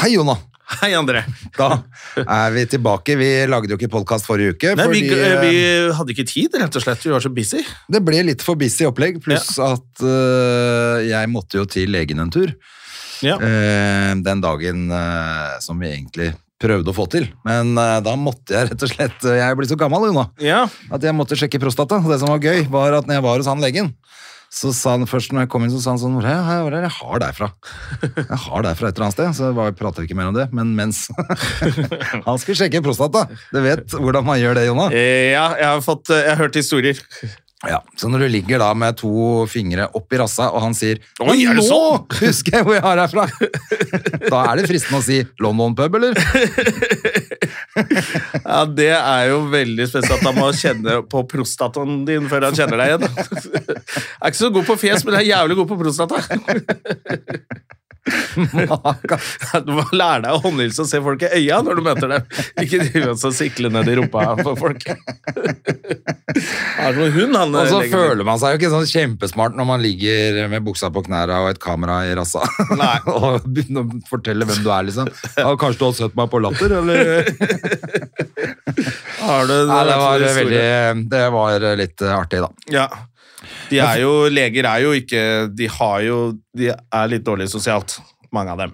Hei, Jonna! Hei, André. Da er vi tilbake. Vi lagde jo ikke podkast forrige uke. Nei, vi, fordi, eh, vi hadde ikke tid, rett og slett. Vi var så busy. Det ble litt for busy opplegg, pluss at øh, jeg måtte jo til legen en tur. Ja. Eh, den dagen eh, som vi egentlig prøvde å få til. Men eh, da måtte jeg rett og slett eh, Jeg er blitt så gammel Jonna, Ja. at jeg måtte sjekke prostata. Og det som var gøy, var at når jeg var hos han legen, så sa han først når jeg kom inn, så sa han sånn Hvor er hvor er det jeg har deg fra? Jeg har deg fra et eller annet sted. Så var- prata vi ikke mer om det. Men mens Han skulle sjekke prostata. Du vet hvordan man gjør det, Jonna. Eh, ja, jeg har, fått, eh, jeg har hørt historier. Ja, Så når du ligger da med to fingre opp i rassa, og han sier Oi, er nå det sånn?» husker jeg hvor jeg har deg fra! da er det fristende å si London pub, eller? Ja, Det er jo veldig spesielt at han må kjenne på prostataen din før han kjenner deg igjen. Er ikke så god på fjes, men er jævlig god på prostata. Maka. Du må lære deg å håndhilse og se folk i øya når du møter dem. Ikke drive og så sikle ned i rumpa på folk. Har du noen hund, han og så legen din? føler man seg jo ikke sånn kjempesmart når man ligger med buksa på knærne og et kamera i rassa Nei. og begynner å fortelle hvem du er, liksom. Ja, kanskje du har sett meg på Latter, eller? Har du Nei, det var, historier? veldig, det var litt eh, artig, da. Ja. De er jo, leger er jo ikke De har jo De er litt dårlige sosialt, mange av dem.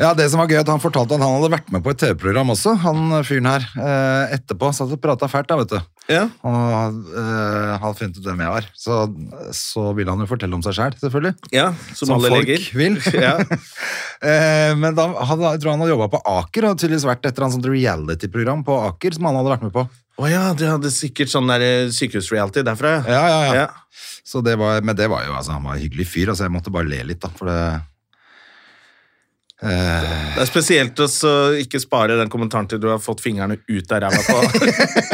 Ja, det som var gøy at Han fortalte at han hadde vært med på et TV-program også, han fyren her. Eh, etterpå satt og prata fælt, da, vet du. Ja. Og eh, han funnet ut hvem jeg var. Så, så vil han jo fortelle om seg sjæl, selv, selvfølgelig. som, Som alle folk leger. vil. ja. Eh, men da, han, jeg tror han hadde jobba på Aker, og hadde tydeligvis vært et eller annet sånt reality-program på Aker som han hadde vært med på. Å ja, de hadde sikkert sånn der eh, sykehusreality derfra. Ja, ja, ja. Ja. Så det var, men det var jo altså, han var en hyggelig fyr, altså jeg måtte bare le litt, da, for det eh, Det er spesielt å så ikke spare den kommentaren til du har fått fingrene ut av ræva på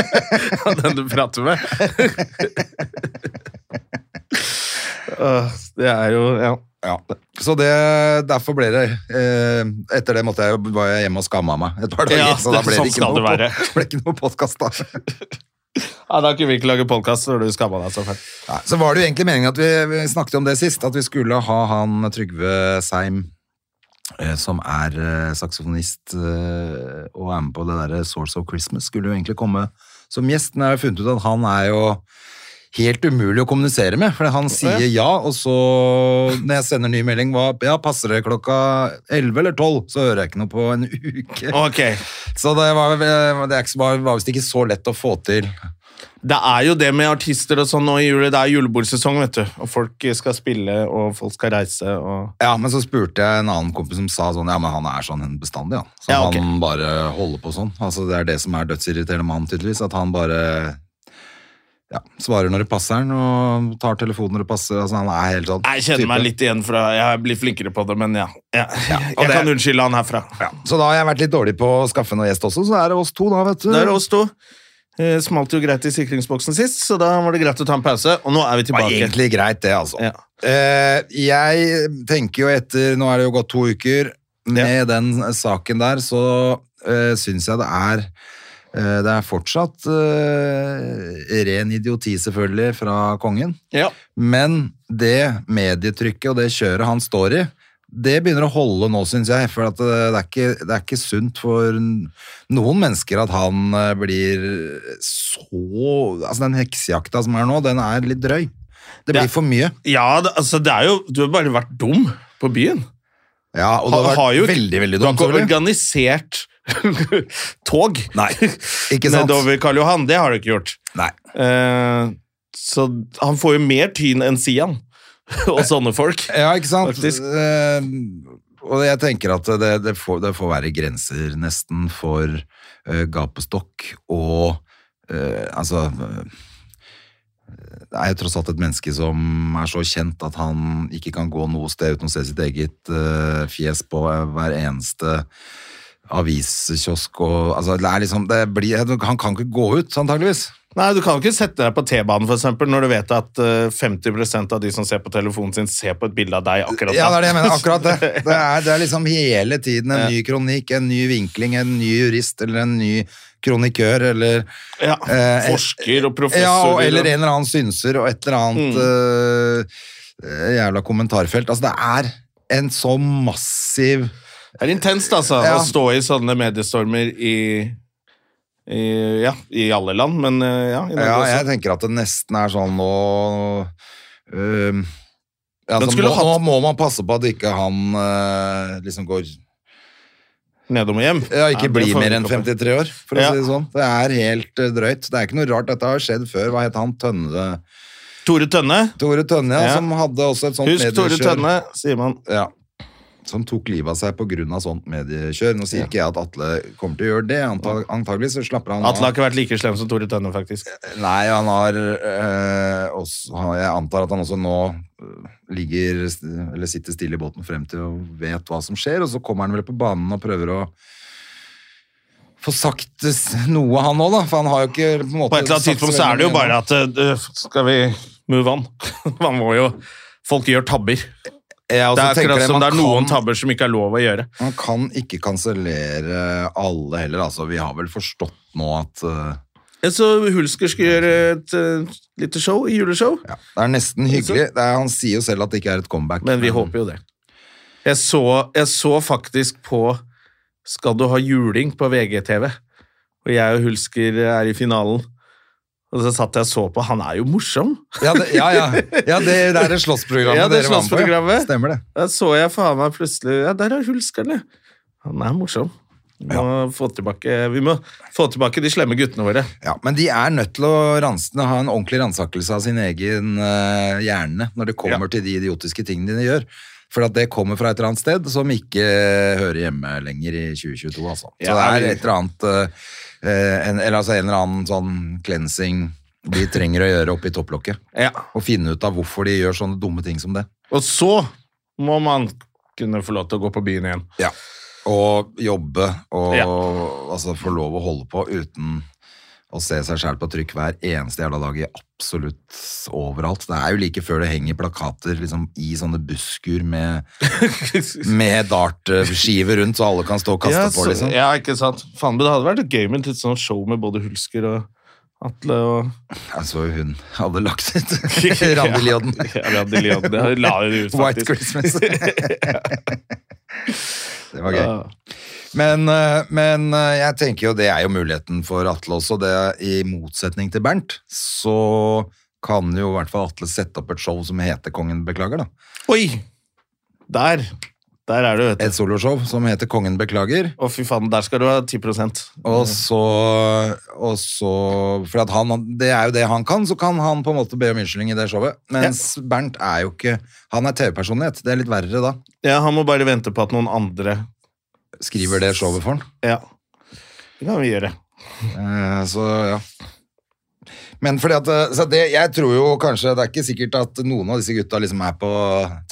av den du prater med. Åh, det er jo Ja. ja. Så det, derfor ble det eh, Etter det måtte jeg, jo- var jeg hjemme og skamma meg et par dager. Ja, så da det- ble sånn det ikke skal noe, det være. pod- ble ikke noe podkast, da. ja da kunne vi ikke lage podkast når du skamma deg så fælt. Nei, Så var det jo egentlig meningen at vi, vi snakket om det sist, at vi skulle ha han Trygve Seim, eh, som er eh, saksofonist eh, og er med på det der Source of Christmas, skulle jo egentlig komme som gjest, men jeg har jo funnet ut at han er jo helt umulig å kommunisere med, for han sier ja, og så når jeg sender ny melding, hva, ja, passer det klokka 11 eller 12, så hører jeg ikke noe på en uke. Ok. Så det var, eh, det er ikke så- var visst ikke så lett å få til. Det er jo det med artister og sånn nå i juli. Det er julebordsesong, vet du. Og folk skal spille, og folk skal reise, og Ja, men så spurte jeg en annen kompis som sa sånn, ja, men han er sånn bestandig, han. Så Ja, ok. han bare holder på sånn. Altså, det er det som er dødsirriterende med han, tydeligvis, at han bare ja, svarer når det passer han, og tar telefonen når det passer. Altså, han er helt sånn. Jeg kjenner type. meg litt igjen fra Jeg blir flinkere på det, men ja. ja. og Jeg det- kan unnskylde han herfra. Så da har jeg vært litt dårlig på å skaffe noen gjest også, så er det oss to da, vet du. Det er oss to. Eh, Smalt jo greit i sikringsboksen sist, så da var det greit å ta en pause. Og nå er vi Det var tilbake. egentlig greit det, altså. Ja. Eh, jeg tenker jo etter, nå er det jo gått to uker, med den saken der, så eh, syns jeg det er eh, det er fortsatt eh, ren idioti, selvfølgelig, fra kongen. Ja. Men det medietrykket og det kjøret han står i, det begynner å holde nå, syns jeg. For at eh, det, er ikke, det er ikke sunt for n- noen mennesker at han eh, blir så Altså, den heksejakta som er nå, den er litt drøy. Det Det er- blir for mye. ja, det, altså, det er jo Du har bare vært dum på byen. Ja, og det Han har har jo vært ikke- veldig, veldig Du har dumt. ikke selvfølgelig. organisert tog Nei, ikke sant? nedover Karl Johan. Det har du ikke gjort. Nei. Eh, så han får jo mer tyn enn Sian og sånne folk. Ja, ikke sant? Faktisk. Eh, og jeg tenker at det, det, får, det får være grenser nesten for eh, gapestokk og eh, altså eh, det er jo tross alt et menneske som er så kjent at han ikke kan gå noe sted uten å se sitt eget eh, fjes på hver eneste aviskiosk og altså, det er liksom, det blir, Han kan ikke gå ut, antageligvis. Nei, du kan jo ikke sette deg på T-banen for eksempel, når du vet at eh, 50 av de som ser på telefonen sin, ser på et bilde av deg akkurat Ja, det er det jeg mener. Akkurat det. Det er, det er liksom hele tiden en ny kronikk, en ny vinkling, en ny jurist eller en ny kronikør eller Ja, eh, forsker og professor. liksom. ja, og, eller en eller annen synser og et eller annet Mm. eh, jævla kommentarfelt. Altså, det er en så massiv Det er intenst, altså, Ja. å stå i sånne mediestormer i, i Ja, i alle land, men eh, ja, i Norge Ja, jeg også. tenker at det nesten er sånn nå øhm, ja, Den altså, skulle nå, hatt- nå må man passe på at ikke han øh, liksom går Nedom og hjem. Ja, ikke Nei, det blir får vi mer enn ikke opp i. 53 år, for å Ja. si det sånn. Det er helt øh, drøyt. Det er ikke noe rart. Dette har skjedd før. Hva het han? Tønne Tore Tønne. Tore Tønne, ja, Ja. som hadde også et sånt Husk Tore mediekjør. Tønne, sier man. Ja. Som tok livet av seg på grunn av sånt mediekjør. Nå sier ikke jeg at Atle kommer til å gjøre det. Antag antagelig så slapper han Atle har ikke vært like slem som Tore Tønne, faktisk. Nei, han har øh, også, han- Jeg antar at han også nå øh, ligger st- Eller sitter stille i båten frem til og vet hva som skjer, og så kommer han vel på banen og prøver å få sagt eh, s- noe, han òg, da. For han har jo ikke på en måte På et eller annet sagt tidspunkt så så veldig er det jo mye bare ennå. at eh, Skal vi move on? Man må jo Folk gjør tabber. ja, og Det så er tenker akkurat jeg, som man det er noen kan- tabber som ikke er lov å gjøre. Man kan ikke kansellere alle heller, altså. Vi har vel forstått nå at eh, Jeg Så Hulsker skulle gjøre et eh, lite show, juleshow, ja, Det er nesten hyggelig. Det er, han sier jo selv at det ikke er et comeback. men vi håper jo det. Jeg så, jeg så faktisk på Skal du ha juling på VGTV, og jeg og Hulsker er i finalen. Og så satt jeg og så på. Han er jo morsom! Ja, det, ja, ja. ja det, det er det slåssprogrammet Ja, det dere var med på. Ja. slåssprogrammet. Stemmer det. Da så jeg faen meg plutselig Ja, der er Hulskerne! Han er morsom. Vi må, få, tilbake, vi må få tilbake de slemme guttene våre. Ja, men de er nødt til å ransene, ha en ordentlig ransakelse av sin egen eh, hjerne når det kommer til de idiotiske tingene de gjør. For at det kommer fra et eller annet sted som ikke hører hjemme lenger i 2022, altså. Så Ja, det er vi- et eller annet eh, eh, en, Eller altså en eller annen sånn cleansing de trenger å gjøre oppi topplokket. Ja. Og finne ut av hvorfor de gjør sånne dumme ting som det. Og så må man kunne få lov til å gå på byen igjen. Ja. Og jobbe og Ja. altså, få lov å holde på uten å se seg sjæl på trykk hver eneste jævla dag i absolutt overalt. Det er jo like før det henger plakater liksom, i sånne busskur med, med dartskiver rundt, så alle kan stå og kaste ja, på, så- liksom. Ja, ikke sant. Faen, men det hadde vært gøy med et litt sånn show med både Hulsker og Atle og Jeg så jo hun hadde lagt ut Randi Lioden. Ja, Randi Lioden. Ja, hun la det ut, White faktisk. Christmas. det var gøy. Ja. Men, eh, men eh, jeg tenker jo det er jo muligheten for Atle også. Det, I motsetning til Bernt, så kan jo i hvert fall Atle sette opp et show som heter Kongen beklager, da. Oi! Der. Der er du, vet du. Et soloshow som heter Kongen beklager. Å, fy faen, der skal du ha 10 Og så, og så For at han, det er jo det han kan, så kan han på en måte be om unnskyldning i det showet. Mens Bernt er jo ikke Han er TV-personlighet. Det er litt verre da. Ja, han må bare vente på at noen andre Skriver det showet for han. Ja. Det kan vi gjøre. Eh, Så ja. Men fordi at, eh, så det, jeg tror jo kanskje, det er ikke sikkert at noen av disse gutta liksom er på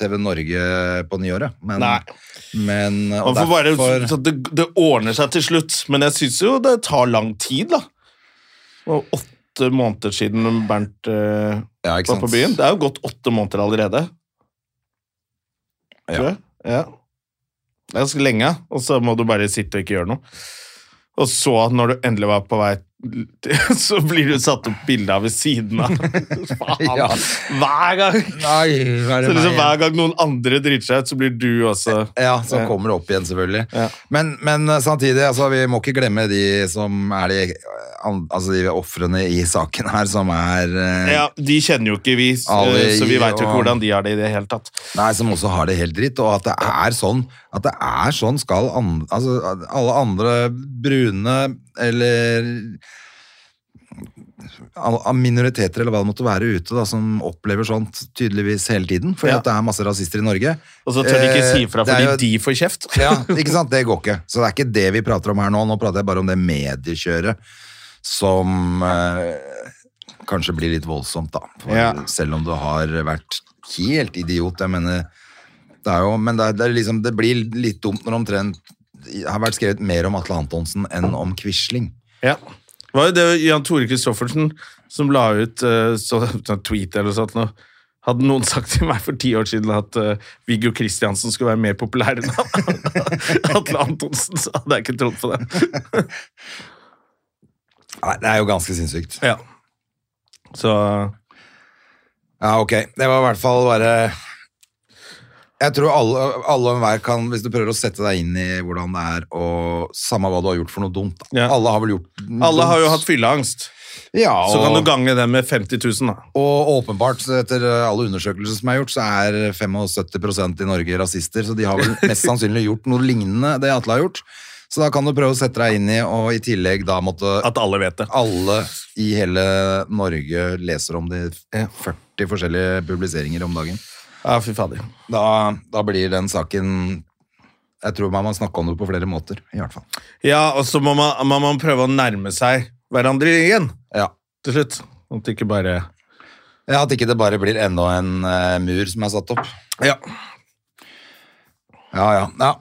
TV Norge på nyåret, men, Nei. men eh, Man og får bare, derfor, så det, det ordner seg til slutt, men jeg syns jo det tar lang tid, da. Det var åtte måneder siden Bernt eh, Ja, ikke var på sant. byen. Det er jo gått åtte måneder allerede. Ja. Tror jeg. Ja. Det er ganske lenge, og så må du bare sitte og ikke gjøre noe. Og så, når du endelig var på vei så blir du satt opp bilde av ved siden av. Faen! Ja. Hver gang! Nei, hva er Så det liksom, meg hver igjen? gang noen andre driter seg ut, så blir du også Ja, så Ja. kommer det opp igjen, selvfølgelig. Ja. Men, men eh, samtidig, altså, vi må ikke glemme de som er de, eh, an- altså, de ofrene i saken her, som er eh, Ja, De kjenner jo ikke vi, s- Ali, så vi veit jo ikke og- hvordan de har det i det hele tatt. Nei, som også har det helt dritt, og at det er sånn, at det er sånn skal an, altså, at alle andre brune eller alle- av minoriteter eller hva det måtte være ute da, som opplever sånt tydeligvis hele tiden, fordi Ja. at det er masse rasister i Norge. Og så tør de ikke si ifra Eh, det er fordi jo- de får kjeft. Ja, ikke sant? Det går ikke. Så det er ikke det vi prater om her nå, nå prater jeg bare om det mediekjøret som... eh, kanskje blir litt voldsomt, da. For Ja. Selv om du har vært helt idiot. Jeg mener det er jo, Men det, er, det, er liksom, det blir litt dumt når det omtrent har vært skrevet mer om Atle Antonsen enn om Quisling. Ja. Det var jo det Jan Tore Kristoffersen som la ut eh, så, en tweet eller noe sånt. nå. Hadde noen sagt til meg for ti år siden at eh, Viggo Kristiansen skulle være mer populær enn Atle Antonsen, så hadde jeg ikke trodd på det. Nei, det er jo ganske sinnssykt. Ja. Så Ja, ok. Det var i hvert fall bare Jeg tror alle, alle og enhver kan, hvis du prøver å sette deg inn i hvordan det er, og samme hva du har gjort for noe dumt da. Ja. Alle har vel gjort alle har jo dumt. hatt fylleangst. ja, og, Så kan du gange det med 50 000, da. Og åpenbart, så etter alle undersøkelser som er gjort, så er 75 i Norge rasister, så de har vel mest sannsynlig gjort noe lignende det Atle har gjort. Så da kan du prøve å sette deg inn i, og i tillegg da måtte At alle vet det. alle i hele Norge leser om de 40 forskjellige publiseringer om dagen. Ja, fy fader. Da, da blir den saken Jeg tror man må snakke om det på flere måter, i hvert fall. Ja, og så må man, må man prøve å nærme seg hverandre igjen Ja. til slutt. At det ikke bare Ja, At ikke det bare blir enda en eh, mur som er satt opp. Ja. Ja, ja. ja.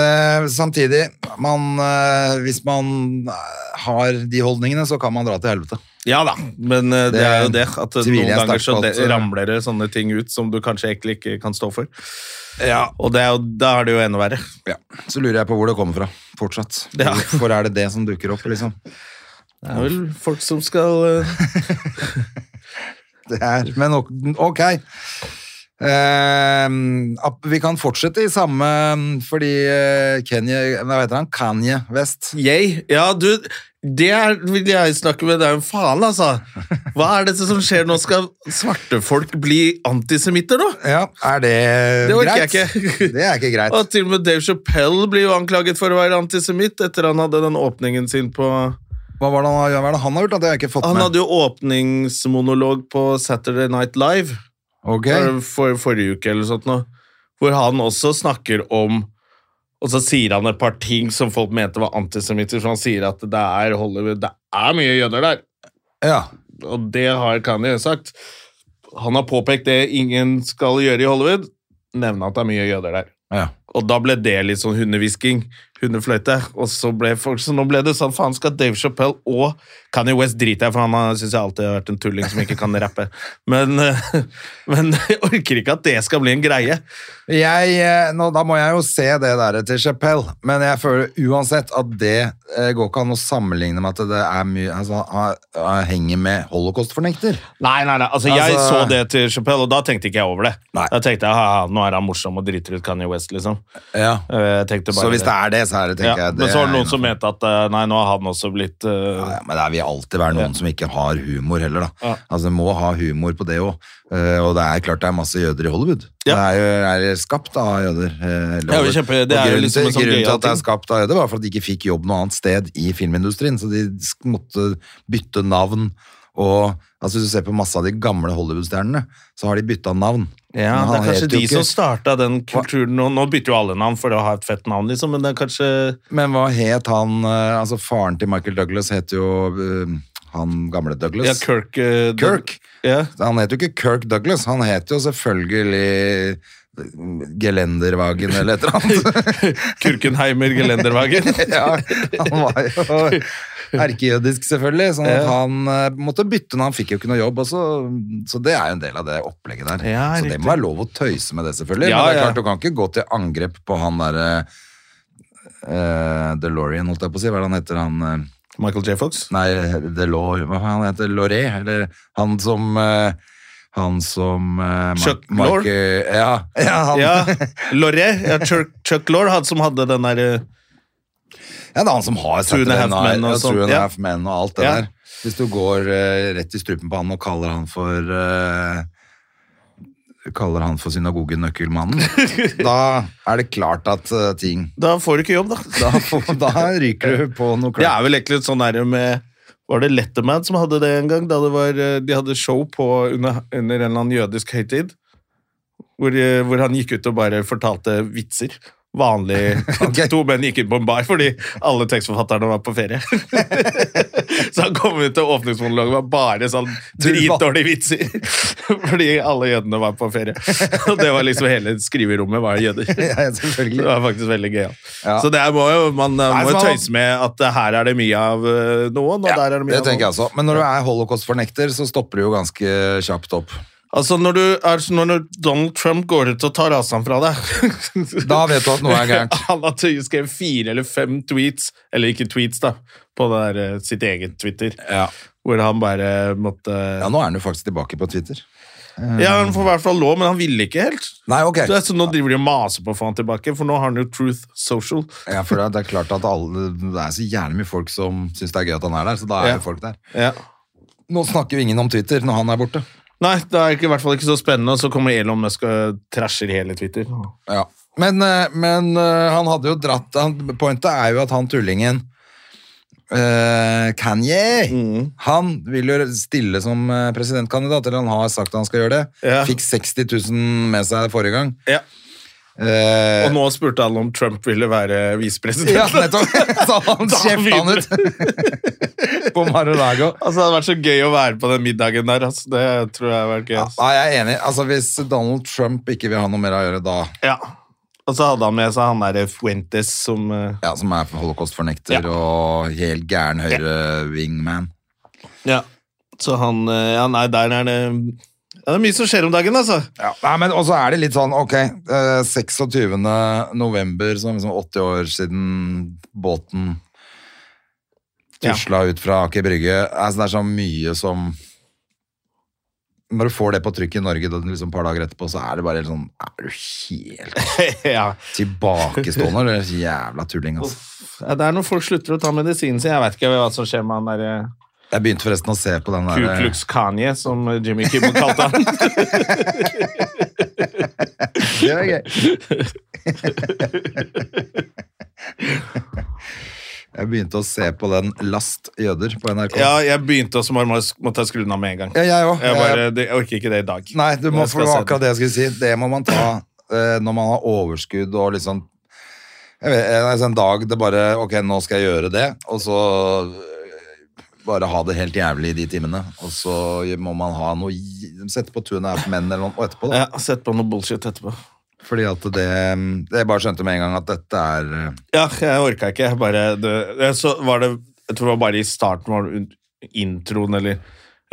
Eh, samtidig, man, eh, hvis man eh, har de holdningene, så kan man dra til helvete. Ja da, men eh, det Det er jo det. At eh, tviler noen jeg ganger så sterkt på det, at, eh, ramler det sånne ting ut som du kanskje egentlig ikke kan stå for. Og det er jo, da er det jo enda verre. Ja. Så lurer jeg på hvor det kommer fra, fortsatt. Ja. Hvorfor er det det som dukker opp, liksom? Det er vel folk som skal eh, Det er, men ok. ok. Eh, ap- vi kan fortsette i samme Fordi eh, Kanye Hva heter han? Kanye West. Yay. Ja, du, det er, vil jeg snakke med. Det er jo en faen, altså. Hva er dette som skjer nå? Skal svarte folk bli antisemitter nå? Ja, er det, Det orker greit? jeg ikke. det er ikke greit. Og til og med Dave Chappelle blir jo anklaget for å være antisemitt etter han hadde den åpningen sin på Hva var det han, hva er det han har gjort? da? Det har jeg ikke fått Han med. hadde jo åpningsmonolog på Saturday Night Live. Ok. for, for, forrige uke eller sånt nå, hvor han også snakker om og så sier han et par ting som folk mente var antisemitter, for han sier at det er Hollywood, det er mye jøder der, Ja. og det har Kanye sagt. Han har påpekt det ingen skal gjøre i Hollywood, nevne at det er mye jøder der. ja. Og da ble det litt sånn hundehvisking, hundefløyte, og så ble folk så nå ble det sånn, faen skal Dave Chappelle og Kanye West drite jeg, for han har- synes jeg alltid har vært en tulling som ikke kan rappe. Men, eh, men jeg orker ikke at det skal bli en greie. Jeg, eh, nå, da må jeg jo se det der til Chappelle, men jeg føler uansett at det eh, går ikke an å sammenligne med at det er mye altså, han, han henger med holocaust-fornekter. Nei, nei, nei, altså jeg Altså- så det til Chappelle, og da tenkte ikke jeg over det. Nei. Da tenkte jeg, ha, ha, nå er han morsom og driter ut Kanye West, liksom. Eh, Jeg tenkte bare Så hvis det er det, så er det, ja, tenker jeg. Det Men så var det er noen som innenfor. mente at, eh, nei, nå har han også blitt... eh, ja, men det vil alltid være noen som ikke har humor heller, da. Ja. Altså, må ha humor på det òg. og det er klart det er masse jøder i Hollywood. Ja. Det er, jo, er skapt av jøder. eh, hele Ja, vi Hollywood. kjemper- det Og er jo grunnen liksom en til, sånn grunnen til gøyal at det er ting. skapt av jøder, var for at de ikke fikk jobb noe annet sted i filmindustrien. Så de sk- måtte bytte navn. Og altså, hvis du ser på masse av de gamle Hollywood-stjernene, så har de bytta navn. Men Ja, det han er kanskje het jo de ikke- som starta den kulturen nå. Nå bytter jo alle navn for å ha et fett navn, liksom, men det er kanskje Men hva het han eh, Altså, faren til Michael Douglas het jo eh, han gamle Douglas. ja, Kirk. eh, Kirk. Ja. Han heter jo ikke Kirk Douglas, han heter jo selvfølgelig Gelendervagen eller et eller annet. Kirkenheimer Gelendervagen. ja, han var jo erkejødisk, selvfølgelig, sånn at han eh, måtte bytte når han fikk jo ikke noe jobb. Og så, så det er jo en del av det opplegget der. Ja, så riktig. det må være lov å tøyse med det, selvfølgelig. Ja, men det er ja. klart, du kan ikke gå til angrep på han derre eh, DeLorean, holdt jeg på å si. Hva er det han heter, han eh, Michael J. Fox. Nei, Delors, hva faen heter det? Loré, eller han som eh, han som eh, Ma- Chuck Mike- Lorre? Ja, ja, han, ja. Ja, Loré. Ja, Chuck, Chuck Lorre, han som hadde den eh, derre det er han som har Two and a Saturday Half Men Night- og ja, sånn, Two and a ja. Half Men og alt det Ja. der. Hvis du går eh, rett i strupen på han og kaller han for eh, kaller han for synagogenøkkelmannen, da er det klart at eh, ting Da får du ikke jobb, da. da, får- da ryker du på noe Det klart. er vel egentlig litt sånn derre med Var det Letterman som hadde det en gang? Da det var, eh, de hadde show på under, under en eller annen jødisk høytid. Hvor, eh, hvor han gikk ut og bare fortalte vitser. vanlig Ok. To menn gikk inn på en bar fordi alle tekstforfatterne var på ferie. så han kom ut til åpningsmonologen med bare sånn dritdårlige vitser. fordi alle jødene var på ferie. Og det var liksom hele skriverommet var jøder. Ja, Det selvfølgelig. var faktisk veldig gøy. Ja. Ja. Så det er- må jo, man eh, Nei, må jo så- tøyse med at eh, her er det mye av eh, noen, og der er det mye Det av tenker noen. jeg også. Men når du er holocaust-fornekter, så stopper du jo ganske kjapt opp. Altså, når, du, altså, når Donald Trump går ut og tar avstand fra deg Da vet du at noe er gærent. Han har tydeligvis skrevet fire eller fem tweets, eller ikke tweets, da, på det der, eh, sitt eget Twitter, Ja. hvor han bare måtte Ja, nå er han jo faktisk tilbake på Twitter. Ja, han får i hvert fall lov, men han ville ikke helt. Nei, ok. Så så nå driver de og maser på å få han tilbake, for nå har han jo Truth Social. Ja, for det er klart at alle, det er så gjerne mye folk som syns det er gøy at han er der, så da er Ja. det folk der. Ja. Nå snakker jo ingen om Twitter når han er borte. Nei, det er ikke, i hvert fall ikke så spennende, og så kommer Elon Musk og trasher hele Twitter. Ja. Men, eh, men eh, han hadde jo dratt han, Pointet er jo at han tullingen eh, Kanye Han vil jo stille som eh, presidentkandidat, eller han har sagt han skal gjøre det. Ja. Fikk 60 000 med seg forrige gang. Ja. Eh, Og nå spurte han om Trump ville være visepresident. ja, nettopp! Så han Da kjefta han ut på Mar-a-Lago. Altså, det hadde vært så gøy å være på den middagen der. Altså. Det tror jeg hadde vært gøy. Ja, Altså. nei, jeg er enig. Altså, hvis Donald Trump ikke vil ha noe mer å gjøre da, Ja. Og så hadde han med seg han derre Fuentes som eh, ja, som er holocaust-fornekter Ja. og helt gæren høyre-wingman Ja. Så han eh, Ja, nei, der er det ja, Det er mye som skjer om dagen, altså. Ja, nei, men også er det litt sånn, ok, eh, 26. november, som liksom 80 år siden båten Ja. tusla ut fra Aker Brygge. Altså, det er så mye som... Når du får det på trykk i Norge da, liksom et par dager etterpå, så er det bare helt sånn, er du helt ja. tilbakestående, eller jævla tulling, altså. Ja, Det er når folk slutter å ta medisinen sin. Jeg vet ikke hva som skjer med han derre Jeg begynte forresten å se på den Ku der... Klux Kanye, som Jimmy Kimmel kalte han. Det var gøy. Jeg begynte å se på den Last jøder på NRK. ja, jeg begynte også, bare må- måtte jeg skru den av med en gang. Ja, jeg òg. Jeg, bare, det- jeg orker ikke det i dag. Nei, du må Jeg skal for det se var akkurat det jeg skulle si. Det må man ta eh, når man har overskudd og liksom jeg vet, eh, altså En dag det bare Ok, nå skal jeg gjøre det, og så eh, bare ha det helt jævlig i de timene. Og så må man ha noe j- Sette på tunet er for menn eller noe og etterpå, da. Ja, Sett på noe bullshit etterpå. Fordi at det Jeg bare skjønte med en gang at dette er eh, Ja, jeg orka ikke. Jeg Bare, det, jeg så var det Jeg tror det var bare i starten, var det un- introen, eller